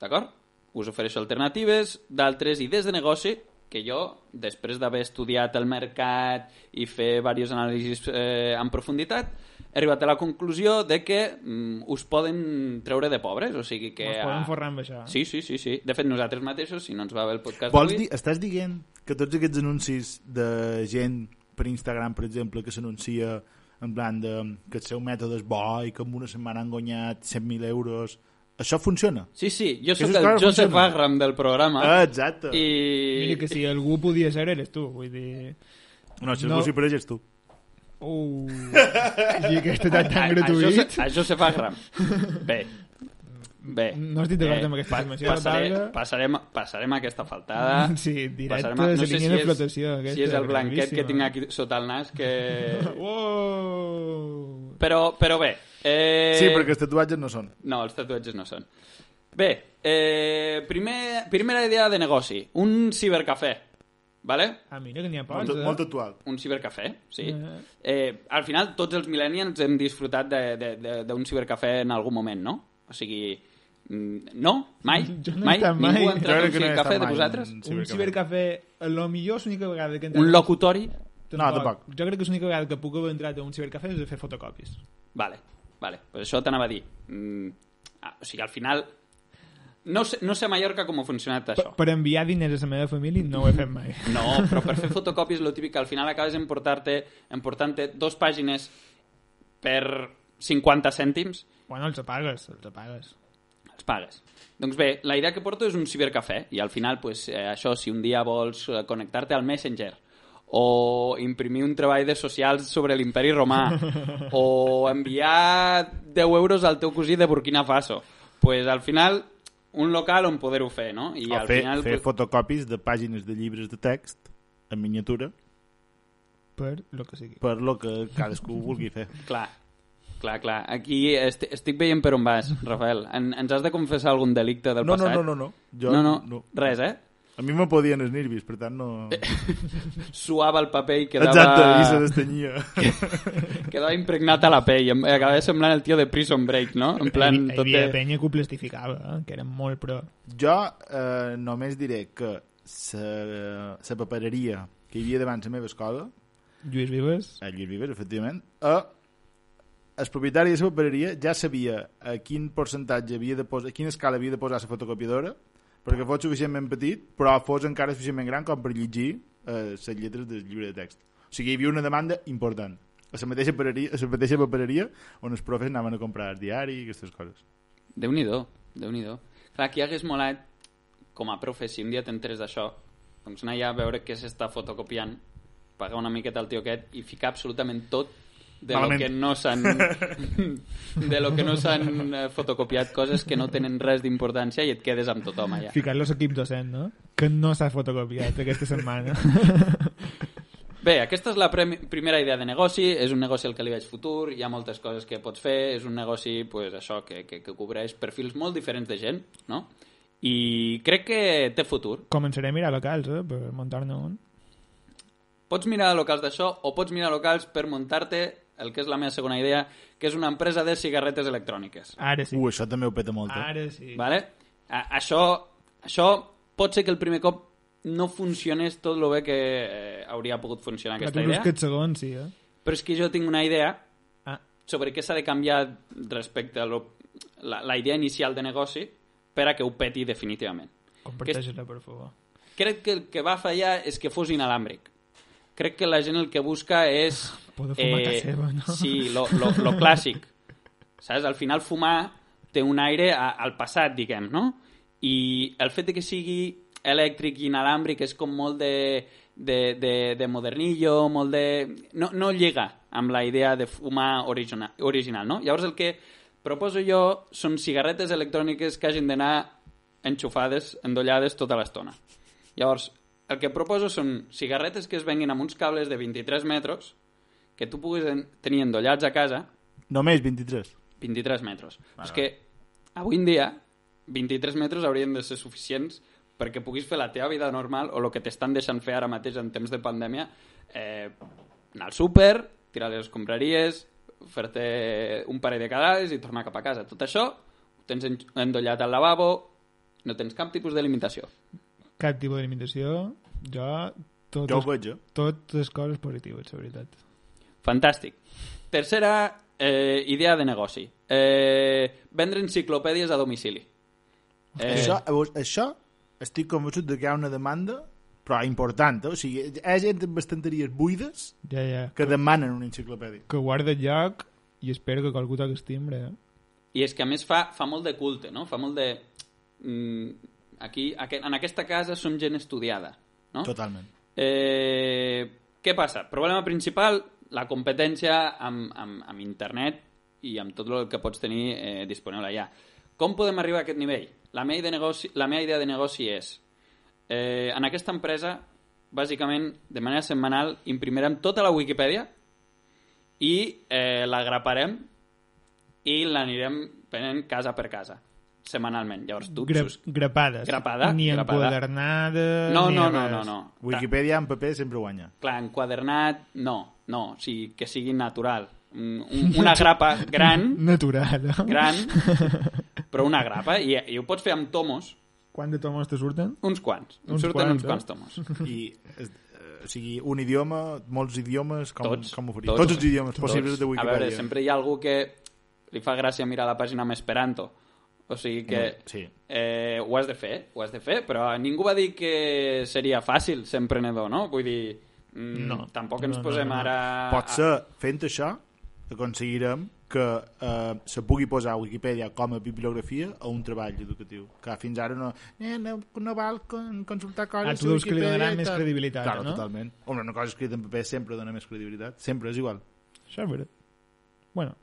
S2: d'acord? Us ofereixo alternatives d'altres idees de negoci que jo, després d'haver estudiat el mercat i fer diversos anàlisis eh, en profunditat, he arribat a la conclusió de que mm, us poden treure de pobres, o sigui que...
S1: Que...
S2: ah,
S1: Ens podem forrar amb això.
S2: Sí, sí, sí, sí. De fet, nosaltres mateixos, si no ens va bé el podcast
S3: Vols
S2: d'avui-
S3: dir, estàs dient que tots aquests anuncis de gent per Instagram, per exemple, que s'anuncia en plan de, que el seu mètode és bo i que en una setmana han guanyat 100.000 euros, això funciona?
S2: Sí, sí, jo
S3: Això
S2: sóc
S3: és
S2: el
S3: clar que
S2: Joseph
S3: funciona.
S2: Bagram del programa.
S3: Ah, exacte. I...
S2: I...
S1: Mira que si algú podia ser, eres tu. Vull dir...
S3: No, això
S1: No.
S3: no. s'hi pareix tu.
S1: Uh, I aquest atac tan
S2: A, a,
S1: gratuït.
S2: Joseph, a Joseph Agram. Bé. Bé. Eh,
S1: No estic d'acord amb aquesta
S2: pa-
S1: afirmació,
S2: Passaré,
S1: Pablo.
S2: passarem, passarem aquesta faltada.
S1: Sí, directe,
S2: Passarem a-
S1: la línia de flotació
S2: és,
S1: aquesta,
S2: si és el blanquet que
S1: gravíssima.
S2: tinc aquí sota el nas que...
S1: Uou!
S2: Però, però bé. Eh...
S3: Sí, perquè els tatuatges no són.
S2: No, els tatuatges no són. Bé, eh, primer, primera idea de negoci. Un cibercafè. Vale?
S1: Ah, mira que n'hi ha pocs,
S3: Molt,
S1: eh?
S3: molt actual.
S2: un cibercafè, sí.
S1: Eh.
S2: Eh, al final, tots els millennials hem disfrutat de- de- de- d'un cibercafè en algun moment, no? O sigui, mm, no? Mai?
S1: Jo no he
S2: mai?
S1: estat mai.
S2: Ningú ha entrat en
S3: Jo
S2: un
S3: crec que no he
S2: cibercafè
S3: estat
S2: de
S3: mai
S2: vosaltres?
S3: en
S1: Un cibercafè, a lo millor és l'única vegada que... he entrat-
S2: Un locutori?
S3: No, tampoc.
S1: Doncs Jo crec que és l'única vegada que puc haver entrat a un cibercafè és de fer fotocòpies.
S2: Vale, vale. Pues això t'anava a dir. Mm, ah, o sigui, al final... No sé, no sé a Mallorca com ha funcionat
S1: Per,
S2: això.
S1: per enviar diners a la meva família no ho he fet mai.
S2: No, però per fer fotocòpies lo típic que al final acabes emportant-te emportant dos pàgines per 50 cèntims
S1: Bueno, els apagues, els apagues.
S2: els pagues. Doncs bé, la idea que porto és un cibercafè i al final, pues, eh, això, si un dia vols eh, connectar-te al Messenger o imprimir un treball de socials sobre l'imperi romà o enviar 10 euros al teu cosí de Burkina Faso, pues, al final un local on poder-ho fer, no? I
S3: I o
S2: al
S3: fer,
S2: final,
S3: fer
S2: pues,
S3: fotocopis de pàgines de llibres de text en miniatura
S1: Per lo que sigui.
S3: per lo que cadascú vulgui fer.
S2: clar, clar, clar. Aquí estic, estic veient per on vas, Rafael. En, ens has de confessar algun delicte del
S3: No, no,
S2: passat?
S3: no, no, no. Jo,
S2: no, no, res, eh?
S3: A mi me podien els nervis, per tant no...
S2: Suava el paper i Eh, quedava...
S3: Exacte, i se destenyia.
S2: Quedava impregnat a la pell. Em acabava semblant el tio de Prison Break, no? En
S1: hi,
S2: plan,
S1: hi
S2: tot
S1: havia
S2: de...
S1: penya que ho plastificava, eh? que era molt pro.
S3: Jo eh, només diré que la la papereria que hi havia davant la meva escola,
S1: Lluís Vives,
S3: a Lluís Vives, efectivament, eh, el propietari de la papereria ja sabia a quin percentatge havia de posar, a quina escala havia de posar la fotocopiadora perquè fos suficientment petit, però fos encara suficientment gran com per llegir eh, les lletres del llibre de text. O sigui, hi havia una demanda important. A la mateixa papereria, a la mateixa papereria on els profes anaven a comprar el diari i aquestes coses.
S2: Déu-n'hi-do, déu nhi déu Clar, aquí hagués molat, com a profe, si un dia t'entres d'això, doncs anar allà a veure què s'està fotocopiant, pagar una miqueta al tio aquest i ficar absolutament tot de lo
S3: Malament.
S2: que no s'han de lo que no s'han eh, fotocopiat coses que no tenen res d'importància i et quedes amb tothom allà.
S1: ficar-lo a l'equip docent, no? Que no s'ha fotocopiat aquesta setmana.
S2: Bé, aquesta és la premi- primera idea de negoci, és un negoci al que li veig futur, hi ha moltes coses que pots fer, és un negoci pues, això que, que, que cobreix perfils molt diferents de gent, no? I crec que té futur.
S1: Començaré a mirar locals, eh? Per muntar-ne un.
S2: Pots mirar locals d'això o pots mirar locals per muntar-te el que és la meva segona idea, que és una empresa de cigarretes electròniques.
S1: Ara sí. Ah.
S3: Ui, això també ho peta molt. eh?
S1: Ara sí.
S2: Vale? A això, això pot ser que el primer cop no funcionés tot el bé que eh, hauria pogut funcionar
S1: Però
S2: aquesta
S1: tu creus
S2: idea.
S1: que et segon, sí, eh?
S2: Però és que jo tinc una idea
S1: Ah.
S2: sobre què s'ha de canviar respecte a lo, la, la idea inicial de negoci per a que ho peti definitivament.
S1: Comparteix-la, per favor.
S2: Crec que el que va fallar és que fos inalàmbric. Crec que la gent el que busca és... eh,
S1: Poder fumar a casa seva, no?
S2: Sí, lo, lo, lo clàssic. Saps? Al final fumar té un aire a, al passat, diguem, no? I el fet de que sigui elèctric i inalàmbric és com molt de, de, de, de modernillo, molt de... No, no lliga amb la idea de fumar original, original, no? Llavors el que proposo jo són cigarretes electròniques que hagin d'anar enxufades, endollades tota l'estona. Llavors, el que proposo són cigarretes que es venguin amb uns cables de 23 metres que tu puguis en- tenir endollats a casa
S3: Només 23.
S2: 23 metres. És que avui en dia 23 metres haurien de ser suficients perquè puguis fer la teva vida normal o el que t'estan deixant fer ara mateix en temps de pandèmia eh, anar al súper, tirar les escombraries fer-te un parell de cadàvers i tornar cap a casa. Tot això ho tens en- endollat al lavabo no tens cap tipus de limitació.
S1: Cap tipus de limitació. Jo, tot,
S3: Jo ho veig, eh?
S1: totes coses positives, la veritat.
S2: Fantàstic. Tercera eh, idea de negoci. Eh, vendre enciclopèdies a domicili.
S3: Eh. Això, llavors, això estic convençut de que hi ha una demanda, però important, eh? O sigui, hi ha gent amb estanteries buides
S1: Ja, ja.
S3: que demanen una enciclopèdia.
S1: Que guarda lloc i espero que qualcú toqui el timbre. eh?
S2: I és que, a més, fa, fa molt de culte, no? Fa molt de... Mm, aquí, aqu en aquesta casa som gent estudiada, no?
S3: Totalment.
S2: Ah. Eh, què passa? Problema principal, la competència amb, amb, amb internet i amb tot el que pots tenir eh, disponible allà. Com podem arribar a aquest nivell? La meva idea de negoci, la meva idea de negoci és eh, en aquesta empresa, bàsicament, de manera setmanal, imprimirem tota la Wikipedia i eh, la graparem i l'anirem prenent casa per casa, setmanalment. Llavors, tu...
S1: Gra
S2: sus-
S1: grapades.
S2: Grapada,
S1: Ni
S2: grapada.
S1: enquadernada,
S2: No,
S1: ni
S2: no, no,
S1: res.
S2: no, no.
S3: Wikipedia en paper sempre guanya.
S2: clar, enquadernat, no, no, o sigui, que sigui natural. Un, un- una grapa gran,
S1: Natural, no?
S2: gran, però una grapa, i, i ho pots fer amb tomos,
S1: Quant de tomos te surten?
S2: uns quants, em
S1: Uns
S2: surten
S1: quants,
S2: uns
S1: eh?
S2: quants tomos.
S3: I, es- eh, o sigui, un idioma, molts idiomes, com,
S2: Tots,
S3: com ho faries?
S2: tots.
S3: Tots, els idiomes possibles de
S2: A
S3: Wikipedia.
S2: veure, sempre hi ha algú que li fa gràcia mirar la pàgina amb Esperanto, o sigui que...
S3: Mm, Sí.
S2: Eh, ho has de fer, ho has de fer, però ningú va dir que seria fàcil ser emprenedor, no? Vull dir, mm, no, tampoc ens
S1: no, no,
S2: posem
S1: no, no.
S2: ara...
S3: Potser fent això aconseguirem que eh, se pugui posar a Wikipedia com a bibliografia a un treball educatiu, que fins ara no, eh, no, no val con, consultar coses
S1: Ah, tu
S3: a
S1: dius que li
S3: Wikipedia
S1: donarà
S3: i
S1: més
S3: tal.
S1: credibilitat,
S3: Claro,
S1: no?
S3: totalment. Home, una cosa escrita en paper sempre dona més credibilitat, sempre és igual.
S1: Això és veritat. Bueno,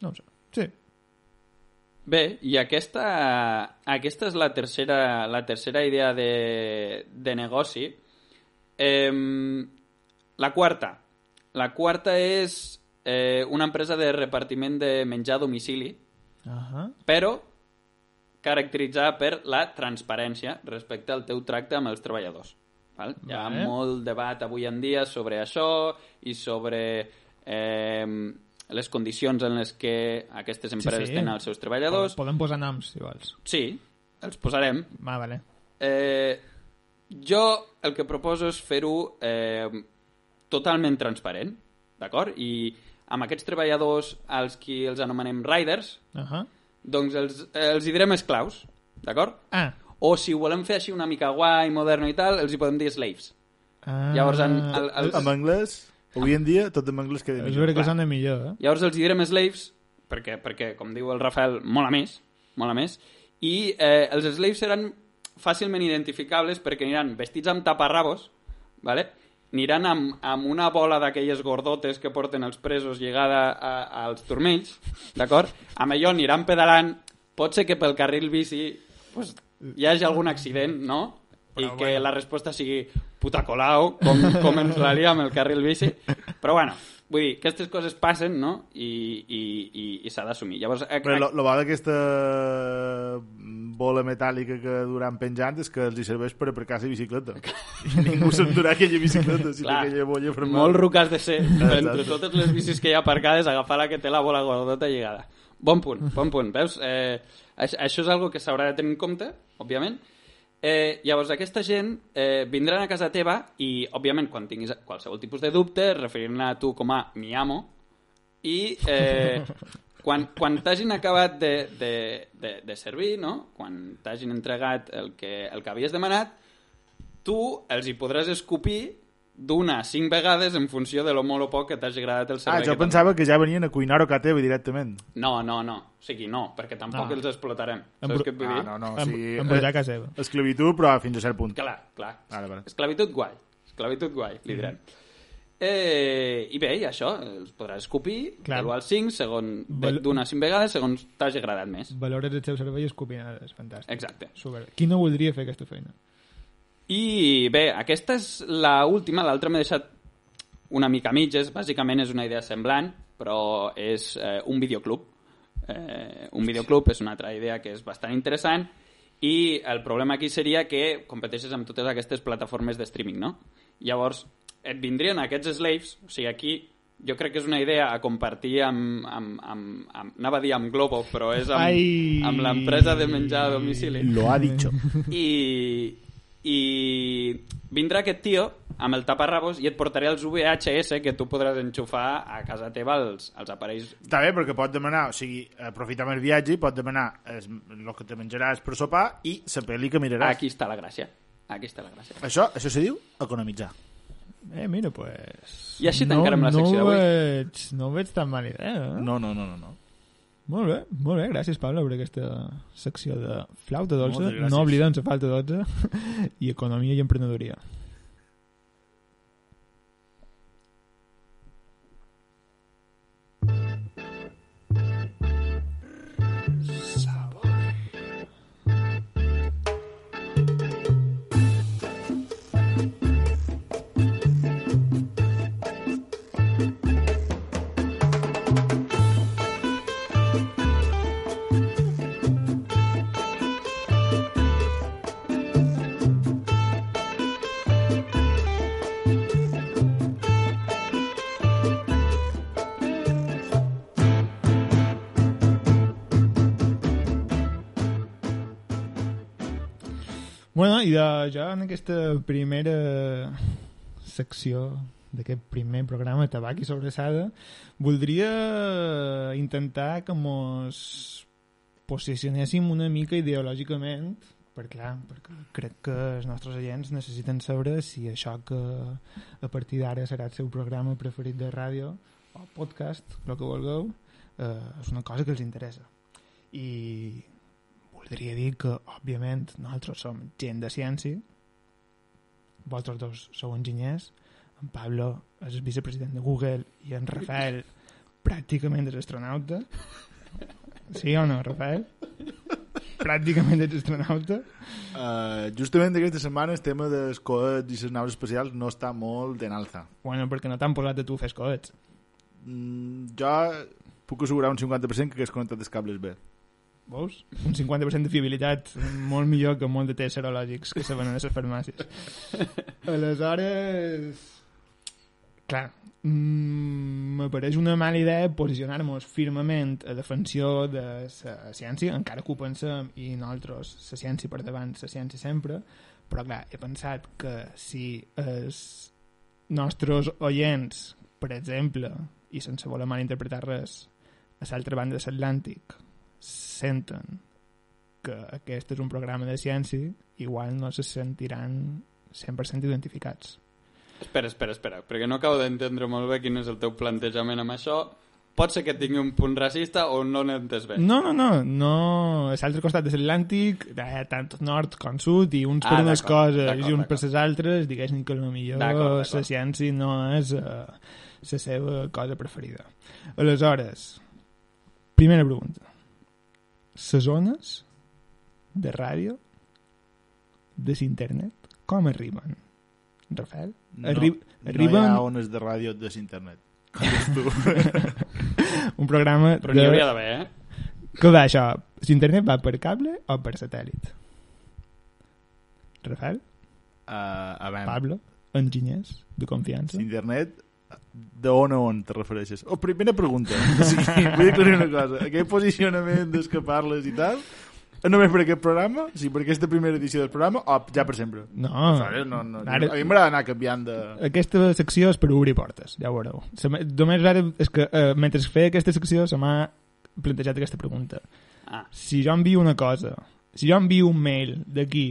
S1: no ho sé. Sí,
S2: Bé, i aquesta, aquesta és la tercera, la tercera idea de, de negoci. Eh, la quarta. La quarta és eh, una empresa de repartiment de menjar a domicili,
S1: Ahà.
S2: però caracteritzada per la transparència respecte al teu tracte amb els treballadors. Val? Hi ha
S1: Vale.
S2: molt debat avui en dia sobre això i sobre eh, les condicions en les que aquestes empreses
S1: sí.
S2: tenen els seus treballadors.
S1: Poden posar noms, si vols.
S2: Sí, els posarem.
S1: Va, vale.
S2: Eh, jo el que proposo és fer-ho eh, totalment transparent, d'acord? I amb aquests treballadors, als qui els anomenem riders,
S1: Ahà.
S2: doncs els, els hi direm esclaus, d'acord?
S1: Ah.
S2: O si ho volem fer així una mica guai, moderno i tal, els hi podem dir slaves.
S1: ah.
S2: Llavors, en, el,
S3: Els...
S2: els,
S3: En anglès, avui en dia, tot en anglès queda
S1: És
S3: millor.
S1: vera que sona millor, eh?
S2: Llavors els hi direm slaves, perquè, perquè com diu el Rafael, mola més, mola més, i eh, els slaves seran fàcilment identificables perquè aniran vestits amb taparrabos, vale? aniran amb, amb una bola d'aquelles gordotes que porten els presos lligada a, als turmells, d'acord? Amb allò aniran pedalant, pot ser que pel carril bici pues, hi hagi algun accident, no? I que la resposta sigui puta colau, com, com ens la lia amb el carril bici. Però bueno, vull dir, aquestes coses passen, no? I, i, i, i s'ha d'assumir. Llavors, eh, a,
S3: Però
S2: a,
S3: lo, lo bo d'aquesta mm, bola metàl·lica que duran penjant és que els hi serveix per aparcar la bicicleta. I ningú s'endurà aquella bicicleta, sinó
S2: Clar.
S3: aquella bolla per
S2: Molt ruc has de ser.
S3: Exacte.
S2: Entre totes les bicis que hi ha aparcades, agafar la que té la bola gordota lligada. Bon punt, bon punt. Veus? Eh, aix- això és algo que s'haurà de tenir en compte, òbviament. Eh, llavors, aquesta gent eh, vindran a casa teva i, òbviament, quan tinguis qualsevol tipus de dubte, referir-ne a tu com a mi amo i eh, quan, quan t'hagin acabat de, de, de, de servir, no? quan t'hagin entregat el que, el que havies demanat, tu els hi podràs escopir d'una a cinc vegades en funció de lo molt o poc que t'hagi agradat el
S3: Ah,
S2: servei.
S3: jo
S2: que t'han-
S3: pensava que ja venien a cuinar-ho a casa teva directament.
S2: No, no, no. O sigui, no, perquè tampoc
S1: Ah.
S2: els explotarem.
S1: Em
S2: Saps
S1: bru-
S2: què et vull dir?
S3: Ah, no, no, o
S1: Em-
S3: sigui...
S1: em posarà a casa seva.
S3: Esclavitud, però fins a cert punt.
S2: Clar, clar.
S3: Vale, vale. Mm-hmm.
S2: Esclavitud guai. Esclavitud guai, li direm. Eh, I bé, i això, els podràs escopir,
S1: Clar.
S2: de l'1 al 5, segon, de-
S1: Val-
S2: d'una a 5 vegades, segons t'hagi agradat més.
S1: Valores el seu servei i escopinades, fantàstic.
S2: Exacte.
S1: Super. Qui no voldria fer aquesta feina?
S2: I bé, aquesta és la última, l'altra m'he deixat una mica a mitges, bàsicament és una idea semblant, però és eh, un videoclub. Eh, un videoclub és una altra idea que és bastant interessant i el problema aquí seria que competeixes amb totes aquestes plataformes de streaming, no? Llavors, et vindrien aquests slaves, o sigui, aquí jo crec que és una idea a compartir amb... amb, amb, amb anava a dir amb Globo, però és amb,
S1: Ai.
S2: amb l'empresa de menjar a domicili.
S3: Lo ha dicho.
S2: I, i vindrà aquest tio amb el taparrabos i et portaré els VHS que tu podràs enxufar a casa teva als, als aparells.
S3: Està bé, perquè pot demanar, o sigui, aprofitar el viatge, pot demanar es, el que te menjaràs per sopar i la pel·li que miraràs.
S2: Aquí està la gràcia. Aquí està la gràcia.
S3: Això, això se diu economitzar.
S1: Eh, mira, pues...
S2: I així tancarem la secció
S1: no
S2: d'avui.
S1: Veig, no veig tan mal idea, eh?
S3: No, no, no, no. no.
S1: Molt bé, molt bé, gràcies Pablo per aquesta secció de flauta dolça.
S3: Moltes gràcies.
S1: No oblidem la falta dolça i economia i emprenedoria. Bueno, i de, jo en aquesta primera secció d'aquest primer programa Tabac i Sobressada voldria intentar que mos posicionéssim una mica ideològicament per clar, perquè crec que els nostres agents necessiten saber si això que a partir d'ara serà el seu programa preferit de ràdio o podcast, el que vulgueu, eh, és una cosa que els interessa. I voldria dir que, òbviament, nosaltres som gent de ciència, vosaltres dos sou enginyers, en Pablo és el vicepresident de Google i en Rafael pràcticament és astronauta. Sí o no, Rafael? Pràcticament ets astronauta.
S3: Uh, justament aquesta setmana el tema dels coets i les naus espacials no està molt en alza.
S1: Bueno, perquè no t'han posat a tu fes coets.
S3: Mm, jo puc assegurar un 50% que hagués connectat els cables bé.
S1: Veus? Un 50% de fiabilitat molt millor que molt de tests serològics que se venen a les farmàcies. Aleshores... Clar, mm, m'apareix una mala idea posicionar-nos firmament a defensió de la ciència, encara que ho pensem i nosaltres, la ciència per davant, la ciència sempre, però clar, he pensat que si els nostres oients, per exemple, i sense voler mal interpretar res, a l'altra banda de l'Atlàntic senten que aquest és un programa de ciència, igual no se sentiran 100% identificats.
S2: Espera, espera, espera, perquè no acabo d'entendre molt bé quin és el teu plantejament amb això. Pot ser que tingui un punt racista o no n'he entès bé.
S1: No, no, no, no, a l'altre costat de l'Atlàntic, eh, tant nord com sud, i uns
S2: Ah,
S1: per unes
S2: d'acord,
S1: coses
S2: d'acord,
S1: i uns per
S2: d'acord.
S1: les altres, diguéssim que potser
S2: D'acord,
S1: la
S2: d'acord.
S1: ciència no és eh, la seva cosa preferida. Aleshores, primera pregunta. Les zones de ràdio de l'internet, com arriben? Rafael?
S3: No,
S1: Arri-
S3: no hi
S1: arriben
S3: ha ones de ràdio des internet. Com dius tu?
S1: un programa
S2: Però n'hi
S1: de...
S2: hauria d'haver, eh?
S1: que va això? Si internet va per cable o per satèl·lit? Rafael,
S3: Uh, a veure,
S1: Pablo, enginyers de confiança.
S3: si internet, de on a on te refereixes? Oh, primera pregunta. O sigui, vull aclarir una cosa. Aquest posicionament dels que parles i tal, és només per aquest programa? O sigui, per aquesta primera edició del programa o ja per sempre?
S1: No,
S3: Saps? No, no,
S1: Ah. Ara-
S3: A mi m'agrada anar canviant de...
S1: aquesta secció és per obrir portes, ja ho veureu. Se m'ha- Només ara, és que eh, mentre feia aquesta secció se m'ha plantejat aquesta pregunta.
S2: Ah.
S1: Si jo envio una cosa, si jo envio un mail d'aquí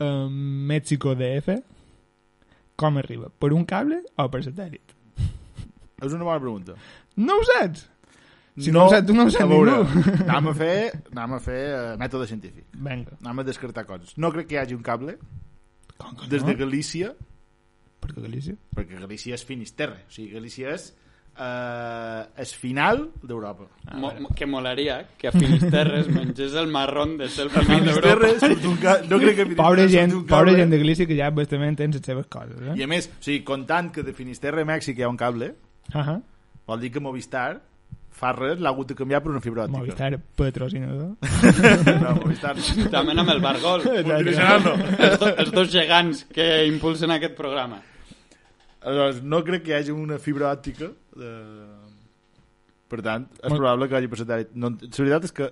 S1: a Mexico DF, com arriba? Per un cable o per satèl·lit?
S3: És una bona pregunta.
S1: No ho saps! Si no ho saps tu, no ho sap
S3: a veure,
S1: ningú.
S3: Anem a fer, anem a fer eh, mètode científic.
S1: Vinga.
S3: Anem a descartar coses. No crec que hi hagi un cable
S1: Com que no?
S3: des de Galícia,
S1: Per Galícia?
S3: perquè Galícia és Finisterre. O sigui, Galícia és eh, és final d'Europa.
S2: Mo- mo- que molaria que a Finisterre es mengés el marrón de ser el final d'Europa.
S3: Finisterre surt un ca... No crec que Finisterre
S1: Pobre
S3: surti
S1: gent,
S3: un cable.
S1: pobre gent de Galícia que ja bastament tens les seves coses, eh?
S3: I a més, o sigui, comptant que de Finisterre a Mèxic hi ha un cable,
S1: Ah -ha.
S3: vol dir que Movistar fa res, l'ha hagut de canviar per una fibra òptica.
S1: Movistar patrocinador.
S3: No, Movistar. no.
S2: També amb el Bargol.
S3: Multinacional no.
S2: els, do, els dos gegants que impulsen aquest programa.
S3: Aleshores, no crec que hi hagi una fibra òptica. De... Per tant, és
S1: Molt-
S3: probable que hagi passat tard. No, la veritat és que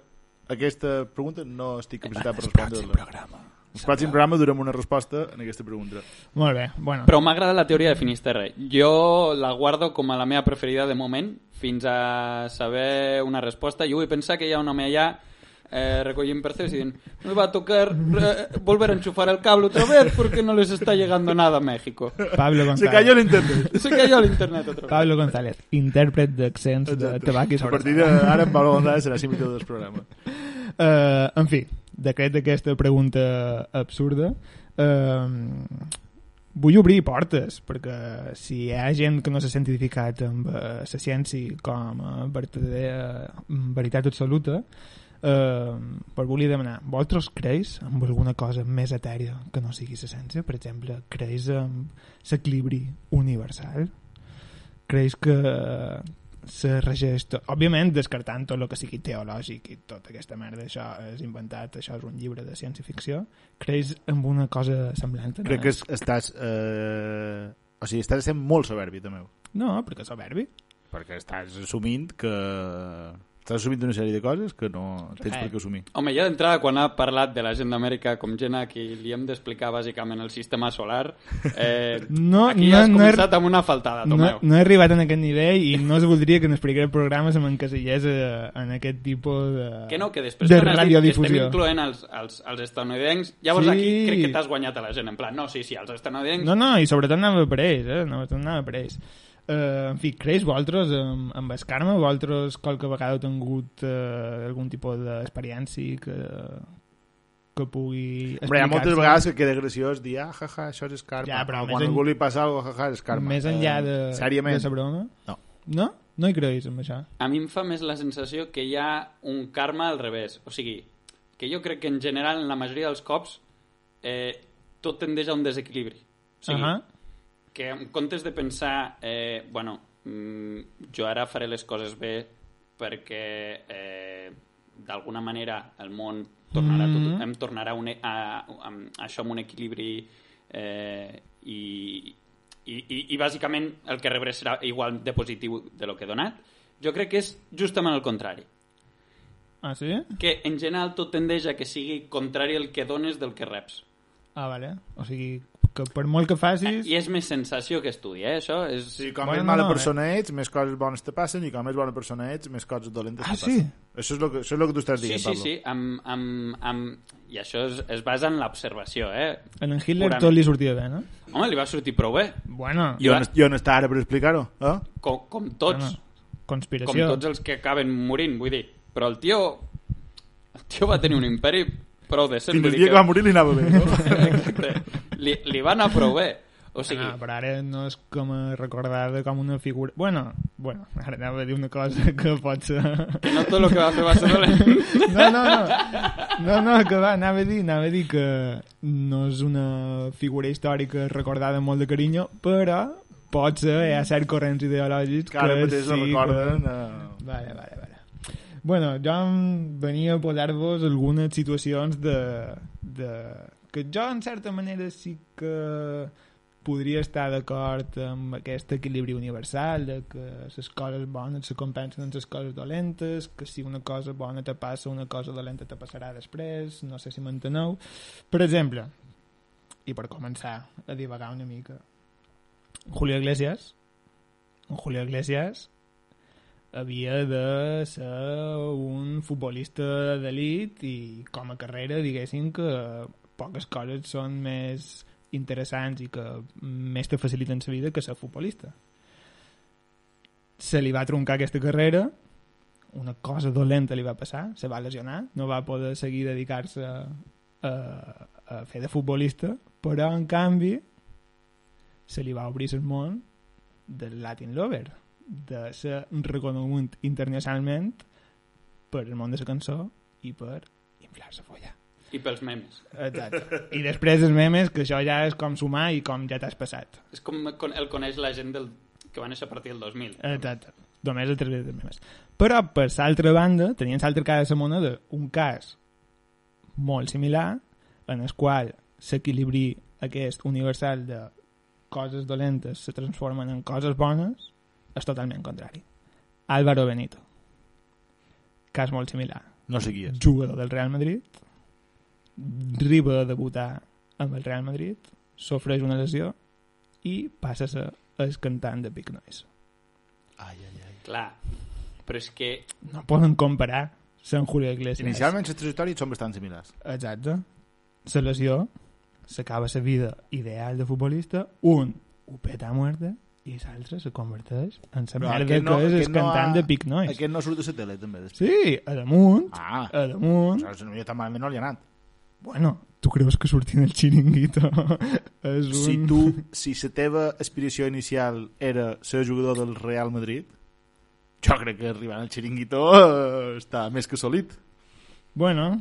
S3: aquesta pregunta no estic capacitat per respondre-la.
S1: programa.
S3: El pròxim programa durem una resposta en aquesta pregunta.
S1: Molt bé, bueno.
S2: Però m'ha agradat la teoria de Finisterre. Jo la guardo com a la meva preferida de moment, fins a saber una resposta. Jo vull pensar que hi ha un home allà eh, recollint percebes y dient me va a tocar eh, volver a enchufar el cable otra vez porque no les está llegando nada a México.
S1: Pablo
S3: Se calla
S1: González.
S3: l'internet.
S2: Se cayó el internet otra vez.
S1: Pablo González, intèrpret d'accents de tabac i
S3: A
S1: sobre.
S3: partir d'ara, en Pablo González serà síndic del programa.
S1: Eh, en fi, decret d'aquesta pregunta absurda. Uh, vull obrir portes, perquè si hi ha gent que no s'ha identificat amb eh, la ciència com a vertadera veritat absoluta, eh, per volia demanar, vosaltres creus amb alguna cosa més etèria que no sigui la ciència? Per exemple, creus en l'equilibri universal? Creus que eh, se regeix tot. Òbviament, descartant tot el que sigui teològic i tota aquesta merda, això és inventat, això és un llibre de ciència-ficció, creus en una cosa semblant? a-
S3: Crec que es- estàs... Eh... O sigui, estàs sent molt soberbi, també.
S1: No, perquè soberbi.
S3: Perquè estàs assumint que... Estàs assumint una sèrie de coses que no tens
S1: Eh.
S3: per què assumir.
S2: Home, ja d'entrada, quan ha parlat de la gent d'Amèrica com gent a qui li hem d'explicar bàsicament el sistema solar, eh,
S1: No,
S2: aquí
S1: no,
S2: has
S1: no he-
S2: començat amb una faltada,
S1: No,
S2: Tomeu.
S1: no he arribat en aquest nivell i no es voldria que en els primers programes em encasillés eh, en aquest tipus de...
S2: Que no, que després
S1: de
S2: quan has dit que estem
S1: radiodifusió.
S2: incloent els, els, els estadounidencs, llavors
S1: Sí.
S2: aquí crec que t'has guanyat a la gent, en plan, no, sí, sí, els estadounidencs...
S1: No, no, i sobretot anava per ells, eh? Anava, anava per ells. Uh, en fi, creus vosaltres amb, amb el karma? Vosaltres qualque vegada heu tingut uh, algun tipus d'experiència que, que pugui
S3: Hombre, hi ha moltes
S1: explicar-se?
S3: vegades que queda graciós dir, ah, ja, ja, això és karma.
S1: Ja, però
S3: Ah,
S1: més
S3: quan
S1: en-
S3: algú li passa alguna cosa, ja, ja, és karma.
S1: Més enllà
S3: Eh,
S1: de,
S3: Sèriament.
S1: de la broma?
S3: No.
S1: No? No hi creus, amb això?
S2: A mi em fa més la sensació que hi ha un karma al revés. O sigui, que jo crec que en general, en la majoria dels cops, eh, tot tendeix a un desequilibri. O sigui,
S1: Ahà.
S2: que en comptes de pensar, eh, bueno, mm, jo ara faré les coses bé perquè eh, d'alguna manera el món tornarà
S1: Mhm.
S2: tot, em tornarà un, e- a, a, a això amb un equilibri eh, i, i, i, i bàsicament el que rebré serà igual de positiu de lo que he donat. Jo crec que és justament el contrari.
S1: Ah, sí?
S2: Que en general tot tendeix a que sigui contrari el que dones del que reps.
S1: Ah, vale. O sigui, que per molt que facis...
S2: I és més sensació que estudi, eh, això? És...
S3: Sí, com
S1: Bueno,
S3: més
S1: no,
S3: mala
S1: no, eh.
S3: persona ets, més coses bones te passen, i com més bona persona ets, més coses dolentes
S1: Ah,
S3: te
S1: sí?
S3: passen. Això és el que, això és lo que tu estàs dient,
S2: sí,
S3: Pablo.
S2: Sí, sí, amb, amb, amb... i això es, es basa en l'observació, eh?
S1: En en Hitler
S2: Purament.
S1: tot li sortia bé, no?
S2: Home, li va sortir prou bé,
S1: Bueno,
S3: Jo, no, jo no està ara per explicar-ho, eh?
S2: com, com tots,
S1: bueno,
S2: com
S1: conspiració.
S2: tots els que acaben morint, vull dir. Però el tio, el tio va tenir un imperi prou decent.
S3: Fins
S2: vull
S3: el
S2: dir
S3: dia que va morir li anava bé, no?
S2: Exacte. li, li va anar prou bé. O sigui,
S1: Ah, però ara no és com a recordada com una figura... Bueno, bueno, ara anava a dir una cosa que pot ser...
S2: que no tot el que va fer va ser dolent.
S1: No, no, no. No, no, que va, anava a dir, anava a dir que no és una figura històrica recordada amb molt de carinyo, però pot ser, hi ha certs corrents ideològics
S3: Que ara
S1: que
S3: mateix
S1: sí
S3: no
S1: que...
S3: recorden... Eh...
S1: Vale, vale, vale. Bueno, jo em venia a posar-vos algunes situacions de, de... que jo, en certa manera, sí que podria estar d'acord amb aquest equilibri universal de que les coses bones se compensen amb les coses dolentes, que si una cosa bona te passa, una cosa dolenta te passarà després, no sé si m'enteneu. Per exemple, i per començar a divagar una mica, Julio Iglesias, en Julio Iglesias havia de ser un futbolista d'elit i com a carrera diguéssim que poques coses són més interessants i que més te faciliten la vida que ser futbolista. Se li va troncar aquesta carrera, una cosa dolenta li va passar, se va lesionar, no va poder seguir dedicar-se a, a fer de futbolista, però en canvi se li va obrir el món del Latin Lover, de ser reconegut internacionalment per el món de la cançó i per inflar-se follar.
S2: I pels memes.
S1: Exacte. I després els memes, que això ja és com sumar i com ja t'has passat.
S2: És com con- el coneix la gent del... que va néixer a partir del 2000.
S1: Exacte. Només a través dels memes. Però, per l'altra banda, tenien l'altra cara de la moneda un cas molt similar en el qual s'equilibri aquest universal de coses dolentes se transformen en coses bones és totalment contrari. Álvaro Benito. Cas molt similar.
S3: No sé qui és.
S1: jugador del Real Madrid, arriba a debutar amb el Real Madrid, sofreix una lesió i passa a ser el cantant de Big Noise.
S3: Ai, ai, ai.
S2: Clar. Però és que
S1: No poden comparar Sant Julio Iglesias.
S3: Inicialment les trajectòries són bastant similars.
S1: Exacte. La lesió, s'acaba la vida ideal de futbolista, un ho peta a muerte i l'altre se converteix en la
S3: Però
S1: merda
S3: aquest no-
S1: que és
S3: aquest
S1: el
S3: no
S1: cantant
S3: ha-
S1: de Big Noise.
S3: Aquest no surt de la tele, també. Després.
S1: Sí, Eh. a damunt,
S3: Ah,
S1: a damunt,
S3: aleshores no, jo tan malament no li ha anat.
S1: Bueno, tu creus que sortint el xiringuito és un...
S3: Si tu, si la teva aspiració inicial era ser jugador del Real Madrid, jo crec que arribant al xiringuito eh, està més que solit.
S1: Bueno,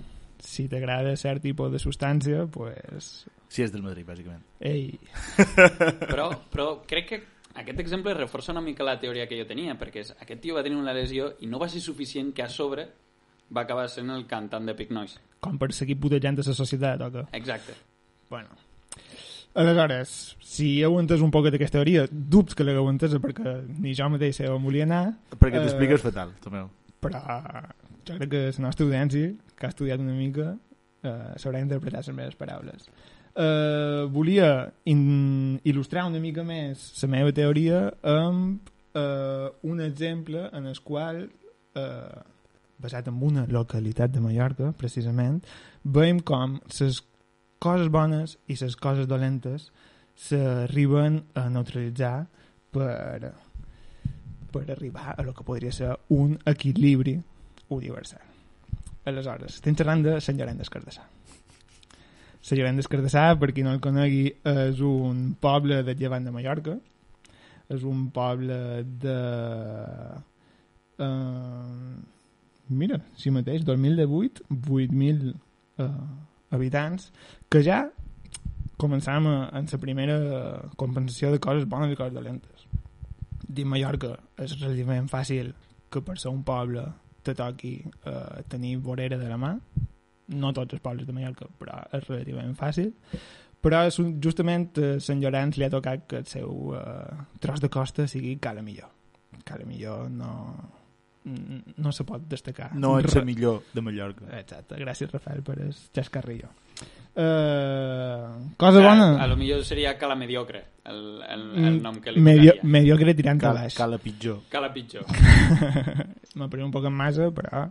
S1: si t'agrada cert tipus de substància, pues...
S3: Si és del Madrid, bàsicament.
S1: Ei,
S2: però, però crec que aquest exemple reforça una mica la teoria que jo tenia, perquè és, aquest tio va tenir una lesió i no va ser suficient que a sobre va acabar sent el cantant de Pic Noise.
S1: com per seguir putejant a la societat, o què?
S2: Exacte.
S1: Bueno. Aleshores, si aguantes un poquet aquesta teoria, dubts que l'hagueu entesa perquè ni jo mateix sé on volia anar,
S3: Perquè
S1: Eh,
S3: t'expliques fatal, Tomeu.
S1: però jo crec que la nostra audiència, que ha estudiat una mica, eh, sabrà interpretar les meves paraules. Eh, volia in il·lustrar una mica més la meva teoria amb eh, un exemple en el qual, eh, basat en una localitat de Mallorca, precisament, veiem com les coses bones i les coses dolentes s'arriben a neutralitzar per, per arribar a lo que podria ser un equilibri universal. Aleshores, estem parlant de Sant Llorenç d'Escardassà. Sant Llorenç d'Escardassà, per qui no el conegui, és un poble de llevant de Mallorca. És un poble de... Uh, mira, si mateix, 2018, 8.000 uh, habitants, que ja començàvem a- en la primera compensació de coses bones i coses dolentes dir Mallorca és relativament fàcil que per ser un poble te toqui eh, tenir vorera de la mà no tots els pobles de Mallorca però és relativament fàcil però és un, justament eh, Sant Llorenç li ha tocat que el seu eh, tros de costa sigui cala millor cala millor no n- no se pot destacar
S3: No ets
S1: Re- Eh,
S3: el millor de Mallorca.
S1: exacte, gràcies Rafael per el xascarrillo eh, cosa bona Mm,
S2: A, a lo millor seria Cala Mediocre, el, el, el nom que li
S1: medio,
S2: tocaria.
S1: mediocre tirant a
S3: Cal,
S1: baix
S3: cal la pitjor.
S2: Cala Pitjor.
S1: me prenc un poc en massa, però...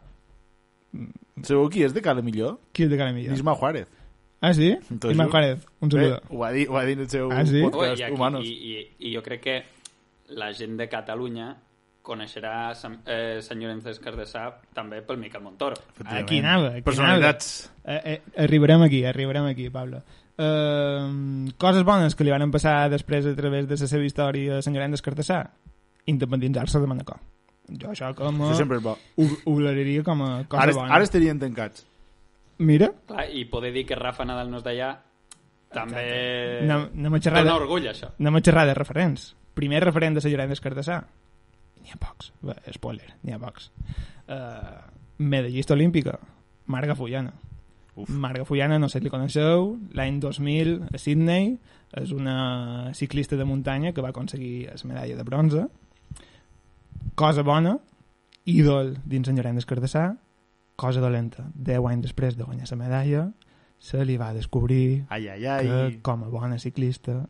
S3: Sabeu qui és de Cala Millor?
S1: Qui és de cara millor?
S3: Isma Juárez.
S1: Ah, sí?
S3: T'ho
S1: Ismael
S3: juro.
S1: Juárez, un saludo.
S3: Bé, ho, ha dit, ho ha dit el seu
S1: Ah, sí?
S2: Ui,
S3: podcast
S2: i, aquí,
S3: Humanos.
S2: i, i, I jo crec que la gent de Catalunya coneixerà Sant, eh, Sant Llorenç d'Escardassà també pel Miquel Montoro.
S1: Aquí anava, aquí
S3: Personalitats.
S1: Eh, eh, arribarem aquí, arribarem aquí, Pablo. Uh, coses bones que li van passar després a través de la seva història a Sant Llorenç d'Escartassà? Independitzar-se de Manacor. Jo això com a...
S3: Això sempre és bo.
S1: Ho, ho valoraria com a Ah, cosa
S3: Ara,
S1: bona.
S3: ara estarien tancats.
S1: Mira,
S2: Clar, I poder dir que Rafa Nadal no és d'allà també...
S3: Eh,
S1: anem, anem a xerrar
S2: Dona
S1: de,
S2: orgull, això.
S1: anem a xerrar de referents. Primer referent de Sant Llorenç d'Escartassà. N'hi ha pocs. Bé, spoiler, n'hi ha pocs. Uh, medallista olímpica, Marga Fullana.
S3: Uf.
S1: Marga Fullana, no sé si li coneixeu, l'any 2000 a Sydney és una ciclista de muntanya que va aconseguir la medalla de bronze. Cosa bona, ídol dins en Llorenç Cardassà, cosa dolenta. Deu anys després de guanyar la medalla, se li va descobrir
S3: Ai, ai,
S1: que
S3: ai.
S1: com a bona ciclista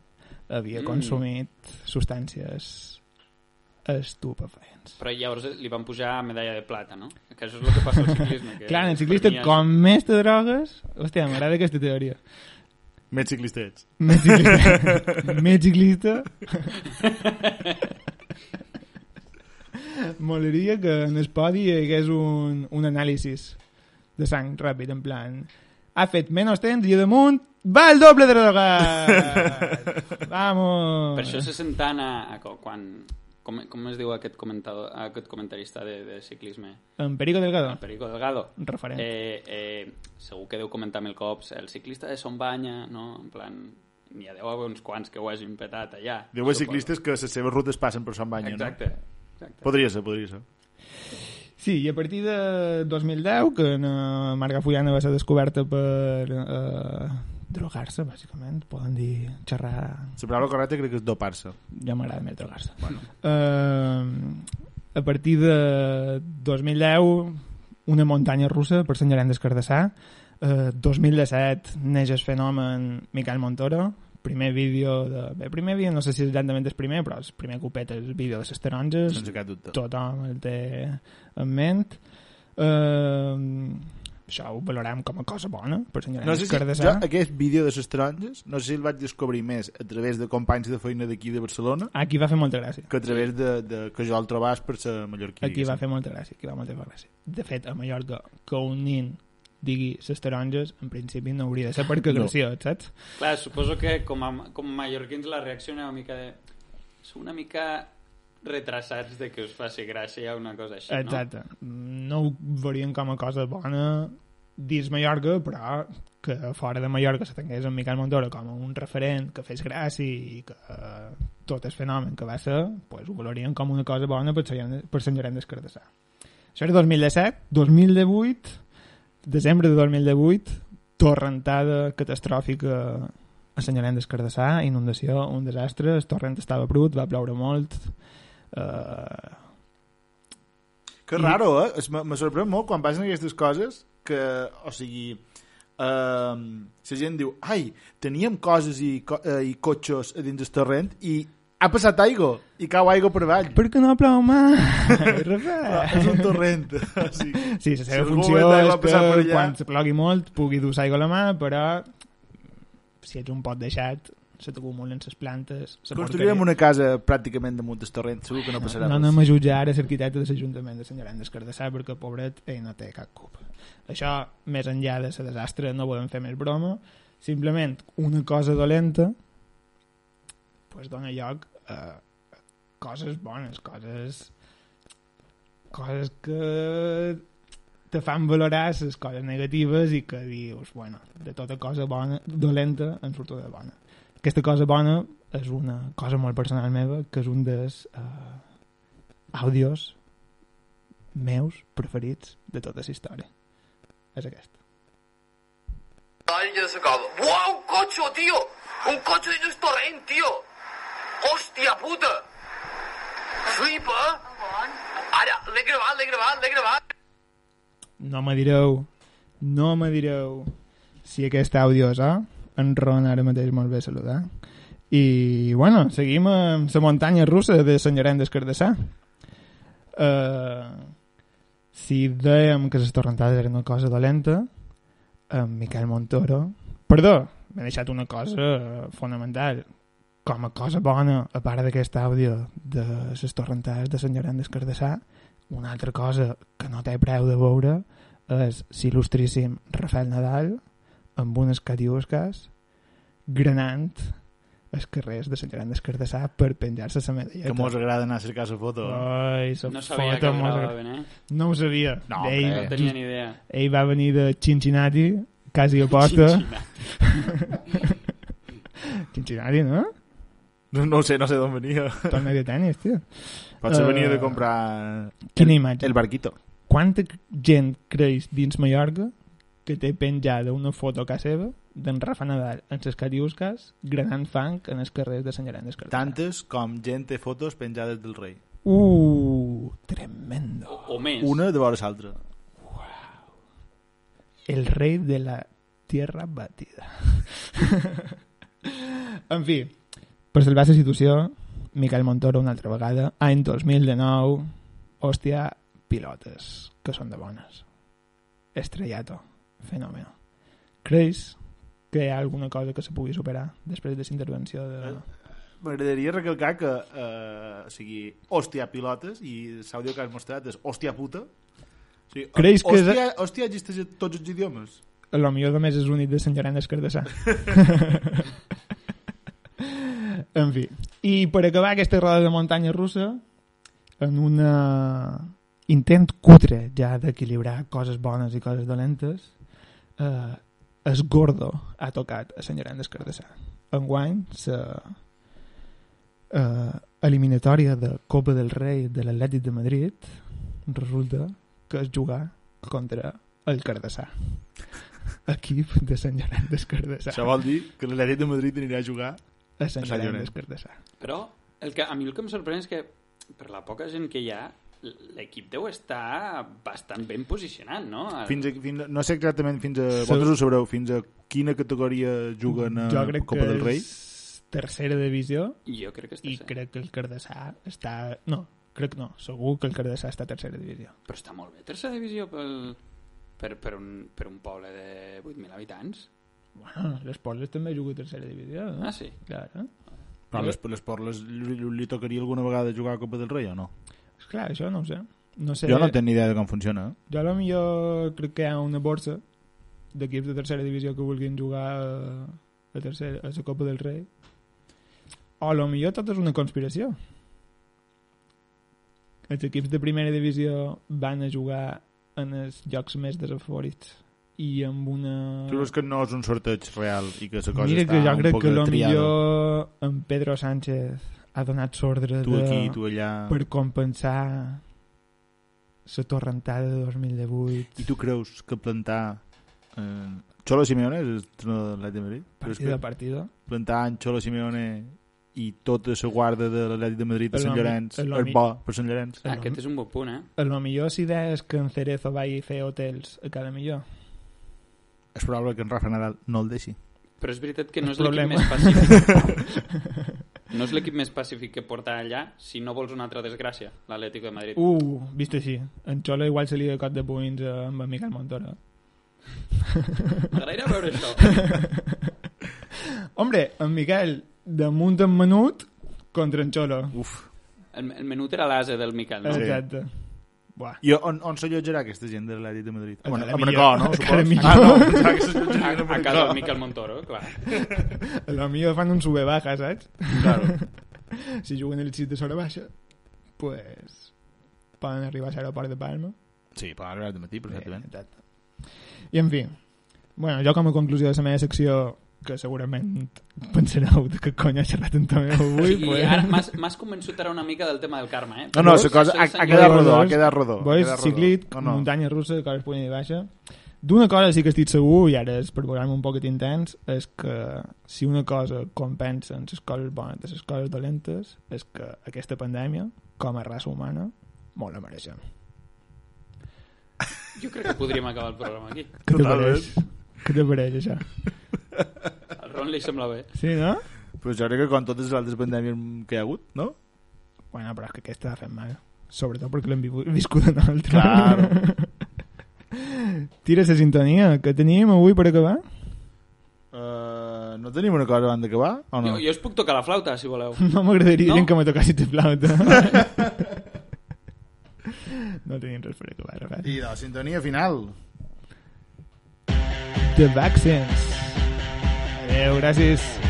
S1: havia
S2: Mm.
S1: consumit substàncies estupefaents.
S2: Però llavors li van pujar medalla de plata, no? Que això és el que passa al ciclisme. Que
S1: Clar, en el ciclista,
S2: per mi és-
S1: com més te drogues... Hòstia, m'agrada aquesta teoria.
S3: Més ciclista ets.
S1: Més ciclista. més ciclista. Molaria que en el podi hi hagués un, un anàlisi de sang ràpid, en plan... Ha fet menys temps i a damunt va el doble de drogat! Vamos!
S2: Per això se senten a, a co- quan... Com, com es diu aquest, comentador, aquest comentarista de, de ciclisme?
S1: En Perico Delgado.
S2: El Perico Delgado.
S1: Un referent.
S2: Eh, eh, segur que deu comentar mil cops el ciclista de Sombanya, no? En plan, n'hi ha deu haver uns quants que ho hagin petat allà.
S3: Deu haver
S2: suposo.
S3: ciclistes que les seves rutes passen per Sant Banya, no?
S2: Exacte. Exacte.
S3: Podria ser, podria ser.
S1: Sí, i a partir de 2010, que en eh, Marga Fullana va ser descoberta per eh, drogar-se, bàsicament, poden dir xerrar...
S3: La paraula correcta crec que és dopar-se.
S1: Ja m'agrada més drogar-se. Bueno. Eh, a partir de 2010, una muntanya russa per Sant Llorenç d'Escardassà. Eh, 2017 neix el fenomen Miquel Montoro, primer vídeo de... Bé, primer vídeo, no sé si exactament és primer, però el primer copet és el vídeo de les taronges,
S3: Sense cap dubte.
S1: tothom el té en ment uh, això ho valorem com a cosa bona per senyorar
S3: No sé si, jo,
S1: Cardesà
S3: aquest vídeo de les taronges, no sé si el vaig descobrir més a través de companys de feina d'aquí de Barcelona
S1: aquí va fer molta gràcia
S3: que a través de, de que jo el trobàs per ser mallorquí.
S1: aquí va
S3: diguéssim.
S1: fer molta gràcia aquí va molta gràcia de fet a Mallorca que un nin digui ses taronges en principi no hauria de ser perquè
S3: No.
S1: no. graciós saps?
S2: Clar, suposo que com a, com a mallorquins la reacció era una mica de... Sou una mica retrasats de que us faci gràcia una cosa així, no?
S1: exacte no ho veurien com a cosa bona dins Mallorca però que fora de Mallorca se tingués en Miquel Montoro com a un referent que fes gràcia i que eh, tot el fenomen que va ser pues, ho valorien com una cosa bona per, Sant- per Sant Llorenç d'Escardassà això era 2017 2018 desembre de 2018 torrentada catastròfica a Sant Llorenç d'Escardassà inundació, un desastre el torrent estava brut, va ploure molt eh,
S3: Que raro, eh? Es- Me, me sorprèn molt quan passen aquestes coses que, o sigui, eh, la gent diu, ai, teníem coses i, co eh, i cotxes a dins del terreny i ha passat aigua i cau aigua per avall.
S1: Per què no plou mai?
S3: Ah,
S1: Rafael.
S3: és un torrent. o sigui,
S1: Eh. Sí, la
S3: Si
S1: seva
S3: algú
S1: funció
S3: vol
S1: és
S3: d'aigua
S1: que
S3: passar per allà-
S1: quan se plogui molt pugui dur aigua a la mà, però si ets un pot deixat, se t'acumulen les plantes... la porqueria.
S3: construirem
S1: Ah,
S3: una casa pràcticament damunt del terreny, segur que no passarà
S1: No
S3: res.
S1: anem a jutjar ara l'arquitecte de l'Ajuntament de Sant Llorenç d'Escardassà perquè, pobret, ell no té cap culpa. Això, més enllà de la desastre, no podem fer més broma. Simplement, una cosa dolenta pues, dona lloc a coses bones, coses coses que te fan valorar les coses negatives i que dius, bueno, de tota cosa bona, dolenta, en surt una bona. Aquesta cosa bona és una cosa molt personal meva, que és un dels eh, àudios meus preferits de tota la història. És aquest.
S4: Alguien se acaba. ¡Wow! ¡Un coche, tío! ¡Un coche de nuestro ren, tío! ¡Hostia puta! ¡Flipa! Ahora, le he grabado, le he grabado, le he grabado.
S1: No me direu, no me direu si aquest àudio és A. En Ron ara mateix molt bé saludar. I, bueno, seguim amb la muntanya russa de Sant Llorenç d'Escardassà. Uh, si dèiem que les torrentades eren una cosa dolenta, en Miquel Montoro... Perdó, m'he deixat una cosa eh, fonamental. Com a cosa bona, a part d'aquest àudio de les torrentades de Sant Llorenç d'Escardassà, una altra cosa que no té preu de veure és s'il·lustríssim Rafael Nadal amb unes catiusques granant els carrers de Sant Llorenç d'Escardassà per penjar-se la medalleta.
S3: Que mos agrada anar a cercar la foto.
S1: Ai, la
S2: No sabia
S1: foto
S2: que
S1: mos agrada.
S2: agradaven, eh?
S1: No ho sabia.
S3: No,
S1: ell,
S3: hombre.
S2: No tenia ni idea.
S1: ell va venir de Cincinnati, quasi a porta. Cincinnati, no?
S3: No, no ho sé, no sé d'on venia.
S1: Torna de tenis, tio.
S3: Potser
S1: Eh,
S3: venia de comprar
S1: Quina imatge.
S3: el barquito.
S1: quanta gent creix dins Mallorca que té penjada una foto a casa seva d'en Rafa Nadal en ses catiusques granant fang en els carrers de Sant Llorenç des Cardener.
S3: Tantes com gent té fotos penjades del rei.
S1: Uh, tremendo.
S2: O més.
S3: Una de vores altra.
S1: El rei de la tierra batida. en fi, per salvar la situació, Miquel Montoro una altra vegada, any 2009, hòstia, pilotes, que són de bones. Estrellato, fenomen. Creus que hi ha alguna cosa que se pugui superar després de la intervenció de...
S3: M'agradaria recalcar que, eh, o sigui, hòstia pilotes, i l'àudio que has mostrat és hòstia puta. O sigui,
S1: Creus que és-
S3: hòstia, hòstia existeix a tots els idiomes.
S1: A lo millor només és unit de Sant Llorenç Escardassà. en fi. I per acabar aquesta roda de muntanya russa, en un eh, intent cutre ja d'equilibrar coses bones i coses dolentes, eh, es Gordo ha tocat a Sant Llorenç Escardassà. Enguany, la eh, eliminatòria de Copa del Rei de l'Atlètic de Madrid resulta que es jugar contra el Cardassà equip de Sant Llorenç d'Escardassà.
S3: Això vol dir que l'Atlètic de Madrid anirà a jugar
S1: A Sant
S3: a Sant
S1: Llorenç
S3: Llorenç.
S1: d'Escardassà.
S2: Però el que, a mi el que em sorprèn és que per la poca gent que hi ha, l'equip deu estar bastant ben posicionat, no? El-
S3: fins a, fins a, no sé exactament fins a...
S1: Sí.
S3: Vosaltres ho sabreu, fins a quina categoria juguen a
S1: Jo crec
S3: Copa
S1: que
S3: del Rei?
S1: és tercera divisió
S2: Jo crec que està
S1: i
S2: sent.
S1: crec que el Cardassà està... No, crec no, segur que el Cardassà està a tercera divisió.
S2: Però està molt bé, tercera divisió pel... Per, per, un, per un poble de 8.000 habitants.
S1: Bueno, les Pobles també juga a tercera divisió, no?
S2: Ah, sí.
S1: Clar, eh?
S3: Però les, les Porles li, li tocaria alguna vegada jugar a Copa del Rei o no?
S1: Clar, això Pues no ho sé. No sé.
S3: Jo no tenc ni idea de com funciona. eh?
S1: Jo a lo millor crec que hi ha una borsa d'equips de tercera divisió que vulguin jugar a la, tercera, a la Copa del Rei. O a lo millor tot és una conspiració. Els equips de primera divisió van a jugar en els llocs més desaforits i amb una...
S3: Tu creus que no és un sorteig real i que la cosa
S1: Ah. Mira
S3: està
S1: que jo
S3: un
S1: crec
S3: poc
S1: que a lo
S3: triada.
S1: millor en Pedro Sánchez ha donat l'ordre
S3: Tu
S1: de...
S3: aquí, tu allà...
S1: per compensar la torrentada de 2018
S3: I tu creus que plantar... Eh, Cholo Simeone és el entrenador de l'Atlètic de Madrid? Creus
S1: partida a
S3: que
S1: partida
S3: plantar en Cholo Simeone i tota la guarda de l'Atlètic de Madrid a
S1: El
S3: Sant
S1: home-
S3: Llorenç
S1: el
S3: és
S1: home-
S3: bo per Sant Llorenç?
S1: Ah,
S2: Aquest és un bon punt, eh?
S1: a lo millor si deies que en Cerezo va i fer hotels a cada millor
S3: És probable que en Rafa Nadal no el deixi.
S2: Però és veritat que no és
S1: El
S2: l'equip
S1: problema.
S2: més pacífic. No és l'equip més pacífic que portar allà si no vols una altra desgràcia, l'Atlético de Madrid.
S1: uh, vist així en Xola igual se li de cot de punys eh, amb en Miquel Montoro
S2: M'agradaria veure això.
S1: hombre, en Miquel damunt en menut contra en Xolo
S3: Uf.
S2: El, el menut era l'ase del Miquel, no?
S3: Sí.
S1: exacte Buah.
S3: I on, on s'allotjarà aquesta gent de l'Atlètic de Madrid?
S1: A
S3: Bueno, a
S1: Calamillo.
S3: Manacor, no?
S1: A
S3: Supos?
S1: Calamillo.
S3: Ah, no, pensava que
S2: A,
S3: s'allotjarien a
S2: a casa del
S3: Manacor.
S2: Miquel Montoro, clar.
S1: a lo millor fan un sube baja, saps?
S3: Claro.
S1: si juguen el xit de sora baixa pues poden arribar a l'aeroport de Palma
S3: Sí, però ara de matí, perfectament.
S1: Bé, exacte. I en fi, bueno, jo com a conclusió de la meva secció, que segurament pensareu de que cony ha xerrat en Tomeu avui,
S2: I
S1: pues,
S2: ara m'has- m'has convençut ara una mica del tema del karma, eh?
S3: No, no, la
S2: Però
S3: cosa ha,
S2: sense-
S3: ha quedat
S1: Vols-
S3: rodó, ha quedat rodó. ha
S1: bois,
S3: quedat Oh, rodó.
S1: ciclit,
S3: No,
S1: no,
S3: no.
S1: muntanya russa, coses punyent i baixa. D'una cosa sí que estic segur, i ara és per posar-me un poquet intens, és que si una cosa compensa en les coses bones de les coses dolentes, és que aquesta pandèmia, com a raça humana, molt la mereixem.
S2: Jo crec que podríem acabar el programa aquí.
S1: Què te
S3: Totalment.
S1: pareix? Què te pareix, això?
S2: Al Ron li sembla bé.
S1: Sí, no?
S3: Però jo crec que com totes les altres pandèmies que hi ha hagut, no?
S1: Bueno, però és que aquesta ha fet mal. Sobretot perquè l'hem vivu- viscut en altre.
S3: Claro.
S1: Tira la sintonia que tenim avui per acabar.
S3: Uh, no tenim una cosa abans d'acabar? O no?
S2: Jo, jo us puc tocar la flauta, si voleu.
S1: No m'agradaria
S2: No.
S1: no. que me este tocassi de flauta. no tenim res per acabar, Rafael.
S3: I de la sintonia final.
S1: The Vaccines. Adéu, gràcies.